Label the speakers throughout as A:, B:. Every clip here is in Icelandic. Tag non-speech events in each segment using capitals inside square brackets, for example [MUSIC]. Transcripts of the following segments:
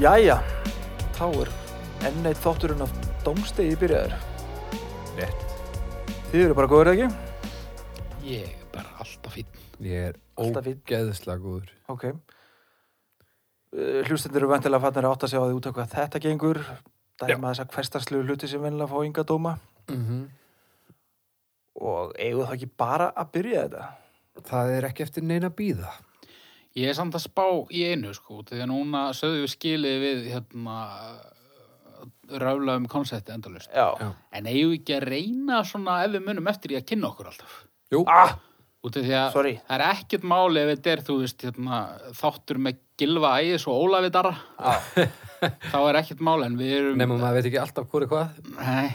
A: Jæja, þá er enn eitt þátturinn af domstegi byrjaður.
B: Rétt.
A: Þið eru bara góður ekki?
C: Ég er bara alltaf fín.
B: Ég er
A: Alltaf fínn.
B: ógeðslega góður.
A: Ok. Eh, Hlustendur eru vantilega fatnar að átta sig á því út af hvað þetta gengur. Dæma þessa hverstarslegu hluti sem vinnilega fá ynga dóma.
C: Mm
A: Og eigum það ekki bara að byrja þetta?
B: Það er ekki eftir neina býða.
C: Ég er samt að spá í einu sko, því að núna sögðu við skilið við hérna rála um konsepti endalust.
A: Já.
B: Já.
C: En eigum við ekki að reyna svona ef við munum eftir í að kynna okkur alltaf.
B: Jú,
A: Ah,
C: Út af því að
A: Sorry.
C: það er ekkert máli ef þetta er, þú veist, hérna, þáttur með Gilva Ægis og Ólafi Darra. [LAUGHS] Þá er ekkert máli en við erum...
B: nema maður veit ekki alltaf hvori hvað.
C: Nei,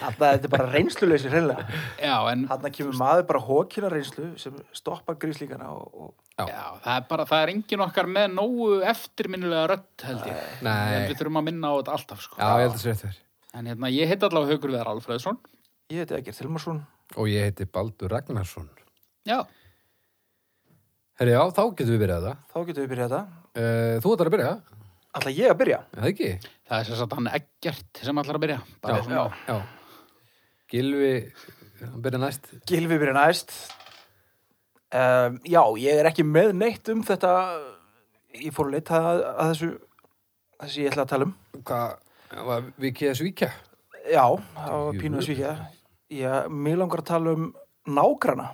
A: þetta þetta er bara reynsluleysi hreinlega.
C: já, en
A: Þarna kemur maður bara hókina reynslu sem stoppar gríslíkana og, og
C: já, það er bara, það er engin okkar með nógu eftirminnilega rödd held ég. En
B: Nei,
C: við þurfum að minna á þetta alltaf sko.
B: já, ég held að sér þér.
C: En hérna, ég heiti allavega Haugur Veðar Alfreðsson.
A: ég heiti Egert Hilmarsson.
B: Og ég heiti Baldur Ragnarsson.
C: Já.
B: Herri, já, þá getum við byrjað það.
A: Þá getum við byrjað þetta.
B: Uh, þú ætlar að byrja,
A: Ætla ég að byrja?
B: eða ekki?
C: Það er sér satt hann ekkert sem allar að byrja. Bara svona,
A: Já.
B: Já. Gilvi, hann byrja næst.
A: Gilvi byrja næst um, Já, ég er ekki með neitt um þetta Ég fór að leita að, að þessu Þessi ég ætla að tala um
B: Hvað, var vikið að svíkja?
A: Já, það var pínu að
B: Jú.
A: svíkja Ég, mér langar að tala um nágrana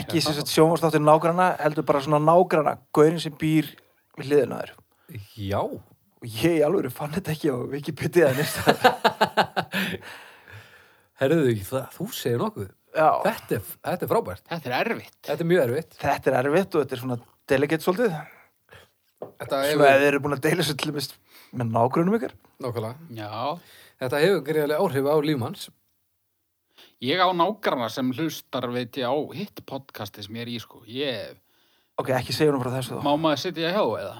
A: Ekki sem sagt sjónvastáttir nágrana Heldur bara svona nágrana Gaurin sem býr við hliðina þér
B: Já.
A: Og ég í alveg fann þetta ekki á Wikipedia eða
B: [LAUGHS]
A: neitt staðar.
B: Herðu ekki það, þú segir nokkuð.
A: Já,
B: Þetta er, þetta er frábært.
C: Þetta er erfitt.
B: Þetta er mjög erfitt.
A: þetta er erfitt og þetta er svona delegate svolítið
B: Þetta
A: Svo ef
B: hefur,
A: þið eru búin að deila svo til dæmis með nágrunum ykkar
B: nákvæmlega,
C: Já.
B: þetta hefur greiðlega áhrif á lífmanns.
C: Ég á nágrana sem hlustar, veit ég, á hitt podcasti sem ég er í, sko. Ég,
A: Ok, ekki segja hún frá þessu þá
C: má maður sitja hjá eða?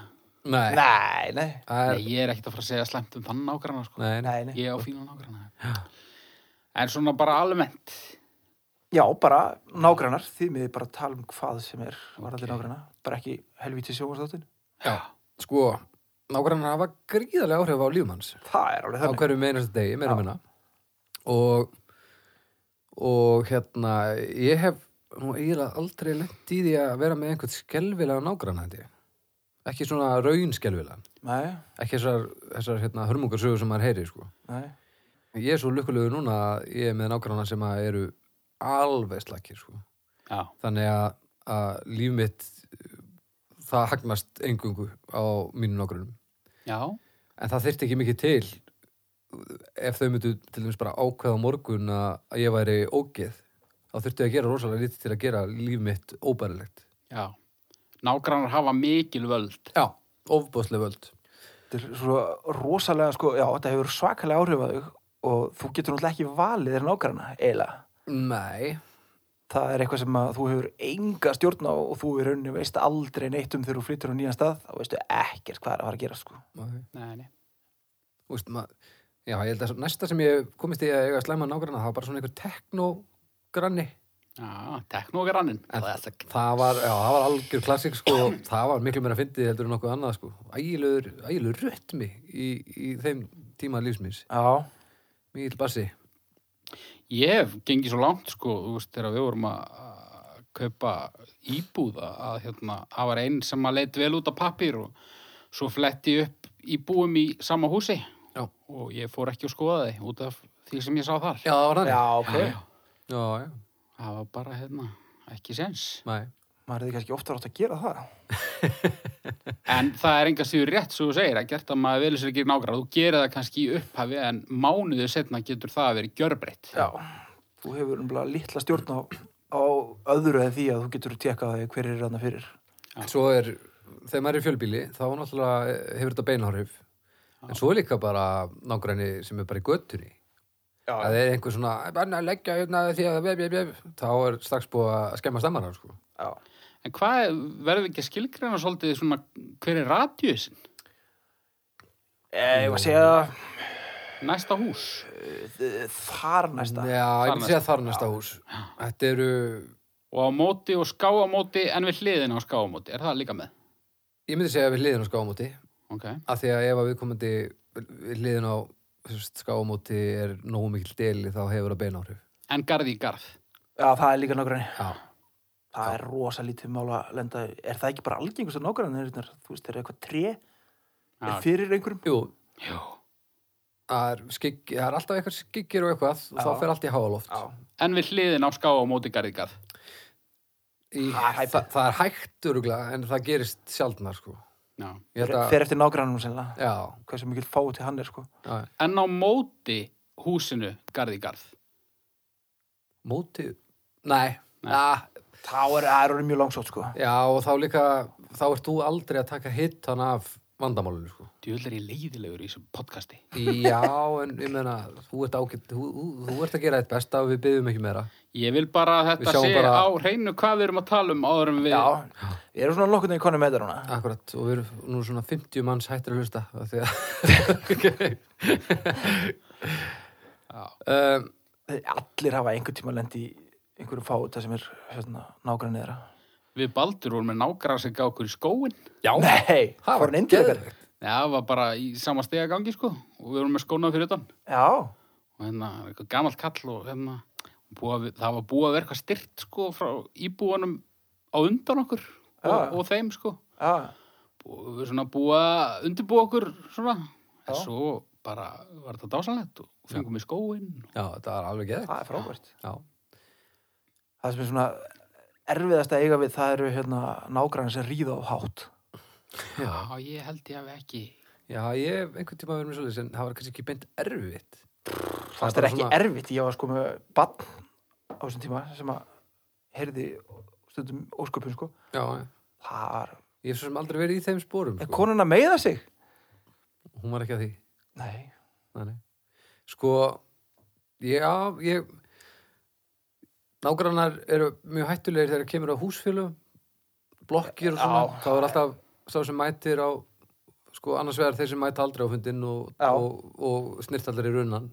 B: Nei.
A: Nei, nei,
B: Það er,
C: Nei, ég er ekkert að fara að segja slemt um þann nágrana, sko.
B: nei, nei.
A: nei, nei.
C: Ég á fína nágrana. Já. En svona bara almennt.
A: Já, bara nágrannar, þið miðið bara að tala um hvað sem er varðandi
C: Ok.
A: okay. nágranna bara ekki helvítið sjónvarsdáttin
B: Já. Sko, nágrannar hafa gríðarlega áhrif á lífmanns
A: Það er alveg
B: á
A: þannig
B: hverju meinast degi, meira
A: Já.
B: og minna. Og, og hérna, ég hef nú eiginlega aldrei lent í því að vera með einhvern skelvilega nágrann, held ég. Ekki svona raun skelvilega.
A: Nei,
B: Ekki þessar, þessar hérna, hörmungarsögur sem maður heyri, sko.
A: nei,
B: Ég er svo lukkulegur núna að ég er með nágrannar sem að eru alveg slakir, sko.
C: Já.
B: Þannig að, að líf mitt, það hagnast engungu á mínu nágrannum.
C: Já.
B: En það þyrfti ekki mikið til ef þau myndu til dæmis bara ákveða á morgun að að ég væri ógeð þá þurfti ég að gera rosalega lítið til að gera líf mitt óbærilegt.
C: Já. Nágranar hafa mikil völd.
B: Já, ofbóðslega völd.
A: þetta er svo rosalega sko, já, þetta hefur svakalega áhrif að þau og þú getur náttúrulega ekki valið þér nágranna, eiginlega
B: Nei,
A: Það er eitthvað sem að þú hefur enga stjórn á og þú í rauninni veist aldrei neitt um þegar þú flyttur á nýjan stað þá veistu ekkert hvað er að fara að gera sko
B: maður,
C: Nei, nei.
B: þú veist maður, já, ég held að næsta sem ég komist í að eiga slæma nágranna, það var bara svona einhver teknogranni.
C: Já, teknogrannin.
B: En það var, já, það var algjör klassik, sko, og það var miklu meira fyndið heldur en nokkuð annað, sko. Ægilegur, ægilegur rötmi í, í þeim tíma lífsmins.
A: Já,
B: Míl Bassi.
C: Ég hef gengið svo langt sko, þú veist, þegar við vorum að að kaupa íbúða að hérna, það var einn sem að leit vel út á pappir og svo fletti ég upp íbúum í sama húsi
B: Já.
C: og ég fór ekki að skoða þið út af því sem ég sá þar.
B: Já, það var
A: já,
B: þannig.
A: ok
C: Já, já.
B: Já, já,
C: það var bara hérna, ekki sens.
B: næ.
A: Maður hefði kannski ofta rátt að gera það
C: En það er enga síður rétt svo þú segir að gert að maður velur sér ekki nágrað. Þú gerir það kannski í upphafi en mánuðu setna getur það að vera gjörbreytt.
A: Já, þú hefur umlega litla stjórn á, á öðru eða því að þú getur tekað því hver er ranna fyrir.
C: Já.
B: Svo er, þegar maður er í fjölbíli, þá náttúrulega eh, hefur þetta beinhárif. En svo er líka bara nágræni sem er bara í göttunni.
A: Já,
B: Það er einhver svona, bara að leggja hérna því að bjö, bjö, bjö. Þá er strax búið að skemma stemmarar, sko.
A: já.
C: En hvað verður ekki að skilgreina svolítið svona hver er radíusin?
A: Eh, Ég var að segja
C: Næsta hús?
A: eh, þar næsta.
B: Já, ég vil
C: Þarnæsta.
B: segja þar næsta hús. Þetta eru,
C: og á móti og ská á móti en við hliðin á ská á móti, er það líka með?
B: ég myndi segja við hliðin sko, á skáamóti.
C: Ó, ok,
B: að því að ef að viðkomandi liðin á skáumóti er nógu mikil deli þá hefur það bein áhrif
C: en garði í garð
A: Já, það er líka nágrann
B: já,
A: Það er rosa lítið mála að lenda Er það ekki bara algengust að nágrann Þú veist, þeir eru eitthvað tré
C: Já.
A: er fyrir einhverjum
B: jú
C: já,
B: það er, skik, það er alltaf eitthvað skiggir og eitthvað og
A: Já.
B: þá fer allt í háaloft
A: Já,
C: en við hliðin á ská á móti garði í garð
B: í,
A: Það er hæpið.
B: það, það er hægt öruglega en það gerist sjaldnar sko
C: já.
B: Ég held að,
A: fer eftir nágrannum sinna
B: já,
A: Hversu mikil fáið til hann er sko
B: já,
C: en á móti húsinu garði í garð
B: móti nei,
C: Nei.
B: nei.
A: Þá er það er orðið mjög langsótt sko
B: já og þá líka þá ert þú aldrei að taka hitt hann af vandamálinu
A: [LAUGHS]
B: sko
C: djöld er ég leiðilegur í þessum podcasti
B: Já, en ég meina, þú ert, ágætt, þú, þú, þú ert að gera eitt besta og við byggjum ekki meira.
C: ég vil bara að
B: Við
C: þetta
B: sjáum
C: sé
B: bara-
C: á hreinu hvað við erum að tala um áður en við
A: Já, við erum svona nokkurn veginn konum með það núna
B: Akkurat, og við erum nú svona 50 manns hættir að hlusta. af Því að... [LAUGHS]
C: Já.
B: um,
A: Allir hafa einhvern tíma lendi einhverjum fáið það sem er hérna, nágrann þeirra
C: við baldur vorum með nágrann sem gaf okkur í skóin
B: já,
A: Nei,
B: það
A: fór
B: var
A: hann inn til ykkar
B: geðveikt.
C: það var bara í sama stega gangi sko og við vorum með skónað fyrir utan
A: Já,
C: og hérna, eitthvað gamalt kall og hérna, búa, við- það var búið að vera eitthvað styrt sko frá íbúanum á undan okkur
A: Já.
C: og, og þeim sko
A: já,
C: og við svona búið að undirbúa okkur svona, en
A: Já.
C: svo bara var þetta dásanlegt og fengum við skóinn
B: Já, það var alveg geðið.
A: það er frábært
B: Já,
A: Það sem er svona erfiðast að eiga við það eru hérna nágrann sem ríða á hátt
B: Já.
C: Já, ég held ég hafi ekki
B: já, ég hef einhvern tíma verið með svolítið, en það var kannski ekki beint erfitt.
A: Fannst
B: bara
A: þér ekki
B: svona-
A: erfitt, ég var sko með bann á þessum tíma sem að heyrði stundum ósköpun sko
B: Já,
A: Það var,
B: ég hef svo sem aldrei verið í þeim spórum.
A: er konan að meiða sig?
B: Hún var ekki að því.
A: Nei,
B: Nei, nei. Sko, já, ég nágrannar eru mjög hættulegir þegar kemur á húsfélög blokkir og svona,
A: Já.
B: þá er alltaf sá sem mætir á sko, annars vegar þeir sem mæta aldrei á fundinn og,
A: Já.
B: og, og snirtaldar í runnan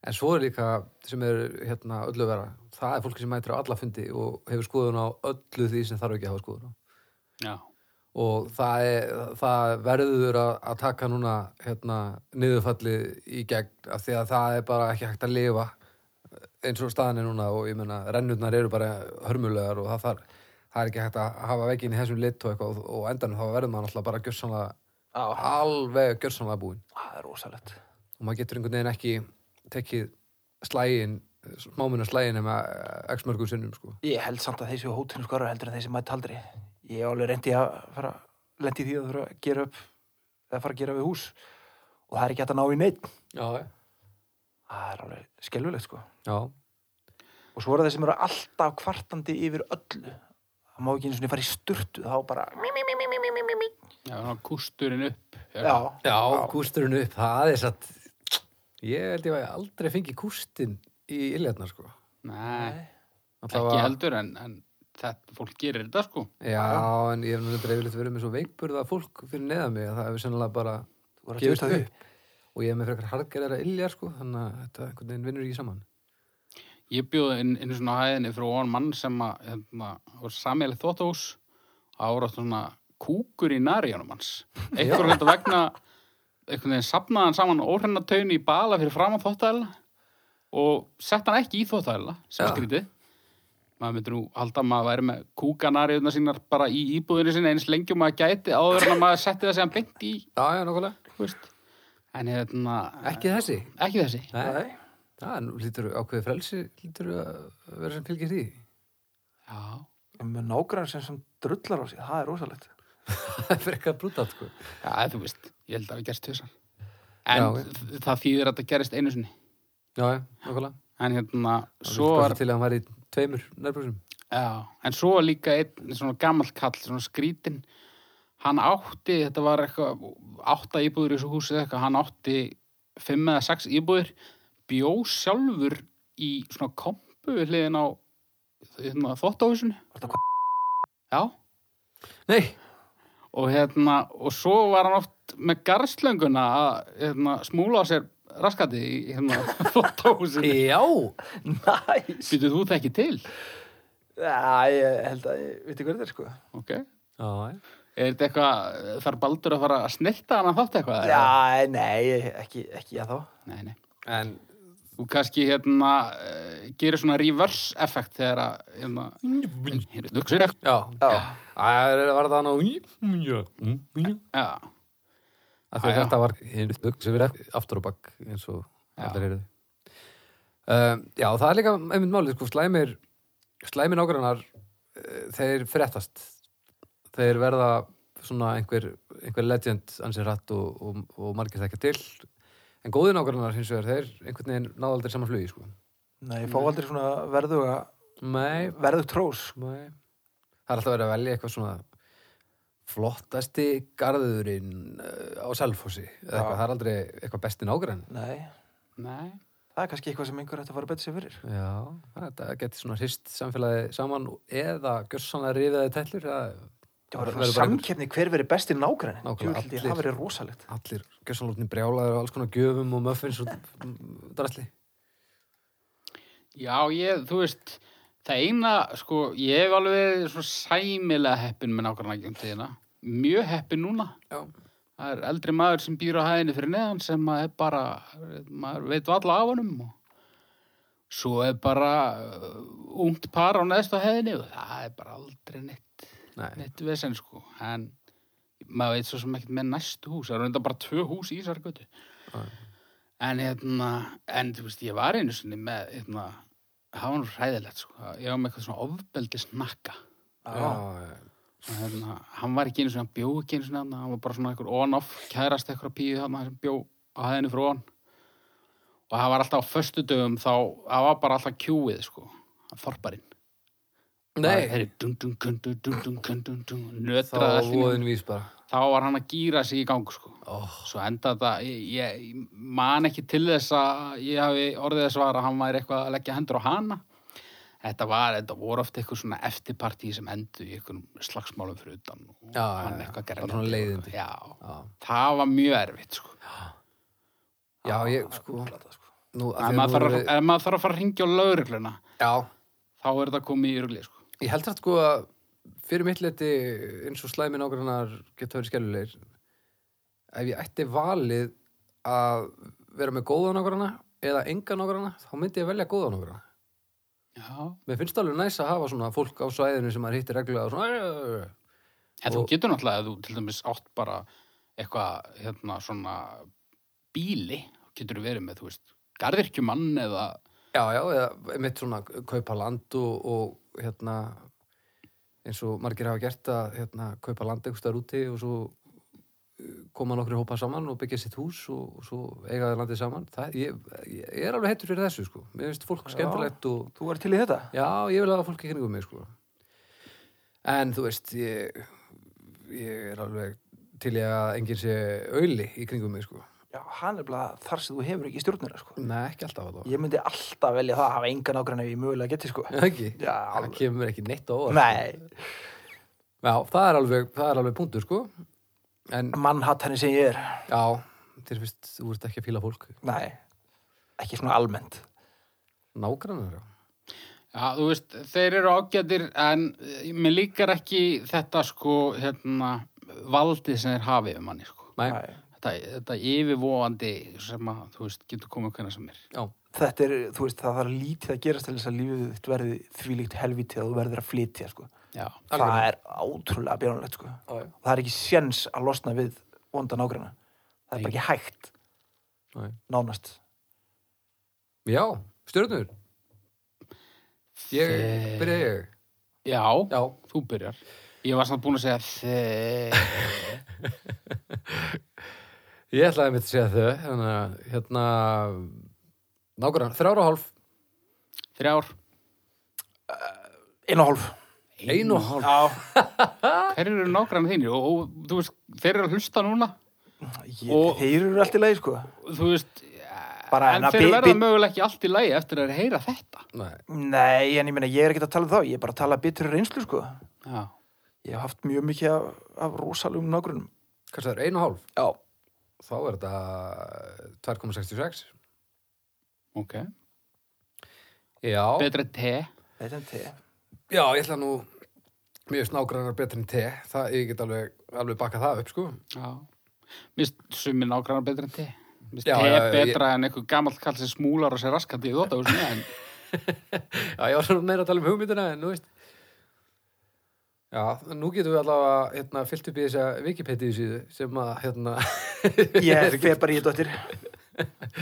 B: en svo er líka sem er hérna öllu vera það er fólki sem mætir á alla fundi og hefur skoðun á öllu því sem þarf ekki að hafa skoðun á
C: Já,
B: og það, er, það verður að, að taka núna hérna, niðurfalli í gegn af því að það er bara ekki hægt að lifa eh, eins og staðan er núna og ég meina rennurnar eru bara hörmulegar og það, þar, það er ekki hægt að hafa veginn í þessum lit og eitthvað og, og endanum þá verður maður alltaf bara gjörsamlega
A: á,
B: alveg gjörsamlega búinn
A: það er rosalegt
B: og maður getur einhvern veginn ekki tekið slægin smáminu slægin nema eh, x mörgum sinnum sko.
A: Ég held samt að þeir séu hótinu skorra heldur en þeir sem mætt aldrei Ég hef alveg reyndi að fara lendi því að þurfa að gera upp eða fara að gera við hús og það er ekki hægt að ná í neitt
B: Já,
A: Það er alveg skelfulegt sko
B: já,
A: og svo eru þeir sem eru alltaf kvartandi yfir öllu það má ekki einu svona fara í sturtu þá bara
C: já, svona kústurinn upp
A: já,
B: já kústurinn upp það er satt ég held ég að ég aldrei fengi kústin í iljarnar sko
C: Nei,
B: Alla
C: ekki
B: vega-
C: heldur en, en þetta, fólk gerir þetta sko
B: já, en ég hef náttúrulega dreifilegt verið með svo veikburða fólk fyrir neða mig að það hefur sennilega bara
A: þú voru að
B: gefist
A: tjóta því
B: upp og ég hef með frekar hargerðara iljar sko þannig að þetta einhvern veginn vinnur ekki saman
C: Ég bjóði inn, inn svona hæðinni frá on mann sem að, hérna, var samjæli þóttahús ára svona kúkur í nariðanum
B: [LAUGHS]
C: hans einhver þetta vegna einhvern veginn sapnaði hann saman óhrennataun í bala fyrir fram á þóttahæla og sett hann ekki í þóttahæla sem
B: Já.
C: já. skrítið maður myndir nú halda að maður væri með kúkanariðuna sínar bara í íbúðinu sinni eins lengi og maður gæti áður en að maður setti það sem beint í
B: já, já, nokkulega,
C: þú veist en hérna,
B: ekki þessi
C: ekki þessi
B: nei, það er nú lítur ákveði frelsi lítur að vera sem fylgir því [LAUGHS]
C: já,
A: með nágrann sem, sem drullar á sig, það er rosalegt
B: það er frekar brútalt sko
C: já, þú veist ég held að við gerst þessar en
B: Já, já.
C: þ- það þýðir að það gerist einu sinni
B: já, já, nokkulega
C: en hérna, svo
B: svo
C: var
B: til að hann væri í tveimur nærbrúsum
C: Já, en svo var líka einn svona gamall kall, svona skrítin hann átti, þetta var eitthvað átta íbúður í þessu húsi eða eitthvað hann átti fimm eða sex íbúður bjó sjálfur í svona kompu við hliðin á hérna, þóttáhúsinu
A: Var þetta
C: Já,
B: nei,
C: og hérna og svo var hann oft með garslönguna að hérna, smúla á sér raskati í hérna, [LAUGHS] þóttáhúsinu
B: [LAUGHS] já
A: næs,
C: Býtu þú það ekki til?
A: já, ég held að ég veit ekki hvað þetta er sko
C: Ok,
B: Já, já.
C: Er þetta eitthvað, þarf Baldur að fara að snilta hann að þátt eitthvað? eða?
A: Já, nei, ekki, ekki ég þá.
C: Nei, nei.
B: En
C: Þú kannski hérna eh, gerir svona reverse effekt þegar að hérna, hérna, þú hugsaður eitthvað.
B: já,
A: Já,
B: það er að vera það nú að
C: Já,
B: því
C: Já,
B: að
C: já.
B: þetta var hinn sem við erum aftur og bakk eins og
C: Já.
B: allir heyrðu um, Já, það er líka einmitt málið sko, slæmir, slæmir nágrannar eh, þeir frettast þeir verða svona einhver, einhver legend ansið rætt og, og, og margir þekkja til en góði nágrannar hins vegar þeir einhvern veginn náðaldir saman flugi sko.
A: nei, ég fá aldrei svona verðuga,
B: Nei,
A: verðug trós.
B: Nei. Það er alltaf verið að velja eitthvað svona flottasti garðurinn eh, á Selfossi eða eitthvað,
A: Já.
B: það er aldrei eitthvað besti nágrann
A: Nei,
C: nei.
A: það er kannski eitthvað sem einhver ætti að fara að betja sér fyrir.
B: Já, þetta getur svona hrist samfélagi saman eða gjörsanlega rifiði tellur það,
A: Það var
B: verður
A: svona
B: bara einhver-
A: samkeppni hver verið besti nágræni.
B: Nákvæmlega,
A: Jú, held ég,
B: allir. sko.
A: það verið rosalegt.
B: allir gjörsanlega brjálaður og alls konar gjöfum og muffins og [LAUGHS] mm, drasli
C: Já, ég, þú veist, það eina, sko, ég hef alveg verið svo sæmilega heppin með nákvæmna ekki um tíðina. Mjög heppin núna.
B: Já.
C: Það er eldri maður sem býr á hæðinni fyrir neðan sem maður er bara, maður veit alla af honum og svo er bara uh, ungt par á neðstu hæðinni og það er bara aldrei neitt,
B: Nei,
C: neitt vesen, sko. En maður veit svo sem ekkert með næstu hús, það eru enda bara tvö hús í Sargötu.
B: Já.
C: En hérna, en þú veist, ég var einu sinni með, hérna, það var nú hræðilegt, sko. Ég var með eitthvað svona ofbeldi snakka.
B: já, já,
C: Og hérna, hann var ekki einu sinni, hann bjó ekki einu sinni hann, hann var bara svona einhver on-off, kærast eitthvað píu þarna sem bjó á hæðinu frá hann. Og það var alltaf á föstu dögum þá, það var bara alltaf kjúið, sko, hann þorparinn. Það
B: Nei,
C: er dung, dung, dung, dung, dung, dung, dung, dung, dung,
B: þá
C: nötraði allt í einu.
B: voðin vís bara
C: Þá var hann að gýra sig í gang, sko.
B: oh,
C: Svo enda þetta, ég, ég man ekki til þess að ég hafi orðið þess var að hann væri eitthvað að leggja hendur á hana. Þetta var, þetta voru oft eitthvað svona eftirpartí sem endu í eitthvað slagsmálum fyrir utan og
B: Já, já,
C: hann
B: já,
C: eitthvað
B: bara
C: gerði.
B: svona leiðindi.
C: Já,
B: Já,
C: það var mjög erfitt, sko.
B: já ég sko
A: Plata, sko.
B: nú, af
C: Ef
B: því að
C: maður,
B: nú
C: þarf,
B: erum
C: að- ef maður þarf að fara að ringja á laurugluna,
B: við- Já,
C: þá er þetta komið í ruglið, sko.
B: Ég held það sko að fyrir mitt leti eins og slæmi nágrannar geta verið skellulegir ef ég ætti valið að vera með góða nágranna eða enga nágranna, þá myndi ég velja góða nágranna
C: Já.
B: Mér finnst alveg næs að hafa svona fólk á svæðinu sem maður hittir reglulega og svona
C: En þú
B: Og-
C: getur náttúrulega, ef þú til dæmis átt bara eitthvað, hérna, svona bíli, getur þú verið með, þú veist, garðirkjumann eða
B: Já, já, eða mitt svona kaupa land og, og hérna eins og margir hafa gert að hérna, kaupa land einhvers staðar úti og svo eh, koma nokkri hópa saman og byggja sitt hús og, og svo eiga þeir landið saman það, ég, ég er alveg hettur fyrir þessu sko mér finnst fólk
A: Já.
B: skemmtilegt og
A: Þú er til í þetta?
B: já, ég vil hafa fólk í kringum mig sko en þú veist ég, ég er alveg til ég að enginn sé auðli í kringum mig sko
A: Já, hann er bara þar sem þú hefur ekki stjórnina, sko.
B: Nei, ekki alltaf að það
A: Ég myndi alltaf velja það að hafa enga nágrann ef ég mögulega geti, sko.
B: ekki,
A: Já,
B: það
A: alveg.
B: kemur ekki neitt á óvart
A: Nei,
B: Já, það er alveg, það er alveg punktur, sko. En,
A: mannhatt henni sem ég er.
B: já, þér finnst, þú ert ekki að fíla fólk.
A: Nei, ekki svona almennt.
B: Nágrannar, já.
C: Já, þú veist, þeir eru ágætir en eh, mér líkar ekki þetta sko, hérna, valdið sem þeir hafi um manni, sko.
B: Nei,
A: Nei.
C: Þetta, þetta yfirvóandi sem að, þú veist, getur komið hvernig sem er.
B: já,
A: Þetta er, þú veist, það þarf lítið að gerast til þess að lífið þitt verði þvílíkt helvítið að þú verður að flytja, sko.
C: Já,
A: Það er ótrúlega bjánulegt, sko.
B: já.
A: Það er ekki séns að losna við vondan ágræna. Það er bara ekki hægt,
B: Nei.
A: nánast.
B: Já, stjörnur. Ég, byrja ég.
C: já,
B: Já,
C: þú byrjar. Ég var samt búin að segja þeir...
B: [LAUGHS] ég ætlaði mitt að segja þau, þannig að, hérna, nágrannar, þrjára og hálf,
C: Þrjár.
A: Einu og hálf.
B: ein og hálf. [LAUGHS]
A: Já.
C: Hver eru nágrann þínir? Og, og, þú veist, þeir eru að hlusta núna.
A: Ég,
C: Og-
A: Þeir eru allt í lagi, sko.
C: Þú veist,
A: Bara
C: en
A: hérna,
C: þeir
A: bi-
C: verða
A: bi-
C: mögulega ekki allt í lagi eftir að þeir heyra þetta.
B: Nei,
A: Nei, en ég meina, ég er ekki að tala um þá. Ég er bara að tala bitur reynslu, sko.
C: Já.
A: Ég hef haft mjög mikið af, af rosalugum nágrunum.
B: hvað það er, ein og hálf?
A: Já.
B: Þá er þetta 2,66.
C: Ok.
B: Já.
C: Betra te.
A: Þetta er til.
B: Já, ég ætla nú mér finnst nágrannar betri en te það, ég get alveg, alveg bakað það upp sko
C: Já. Mist sumir nágrannar betra en te. Mist
B: Já,
C: te
B: já, já,
C: betra en einhver gamall kall sem smúlar og sér raskandi í þóta húsinu. En
B: já, ég var svona meira að tala um hugmyndina en nú veist já, nú getum við allavega hérna, fyllt upp í þessa Wikipedia síðu sem að hérna [LAUGHS]
A: Ég fer bara í þetta dóttir.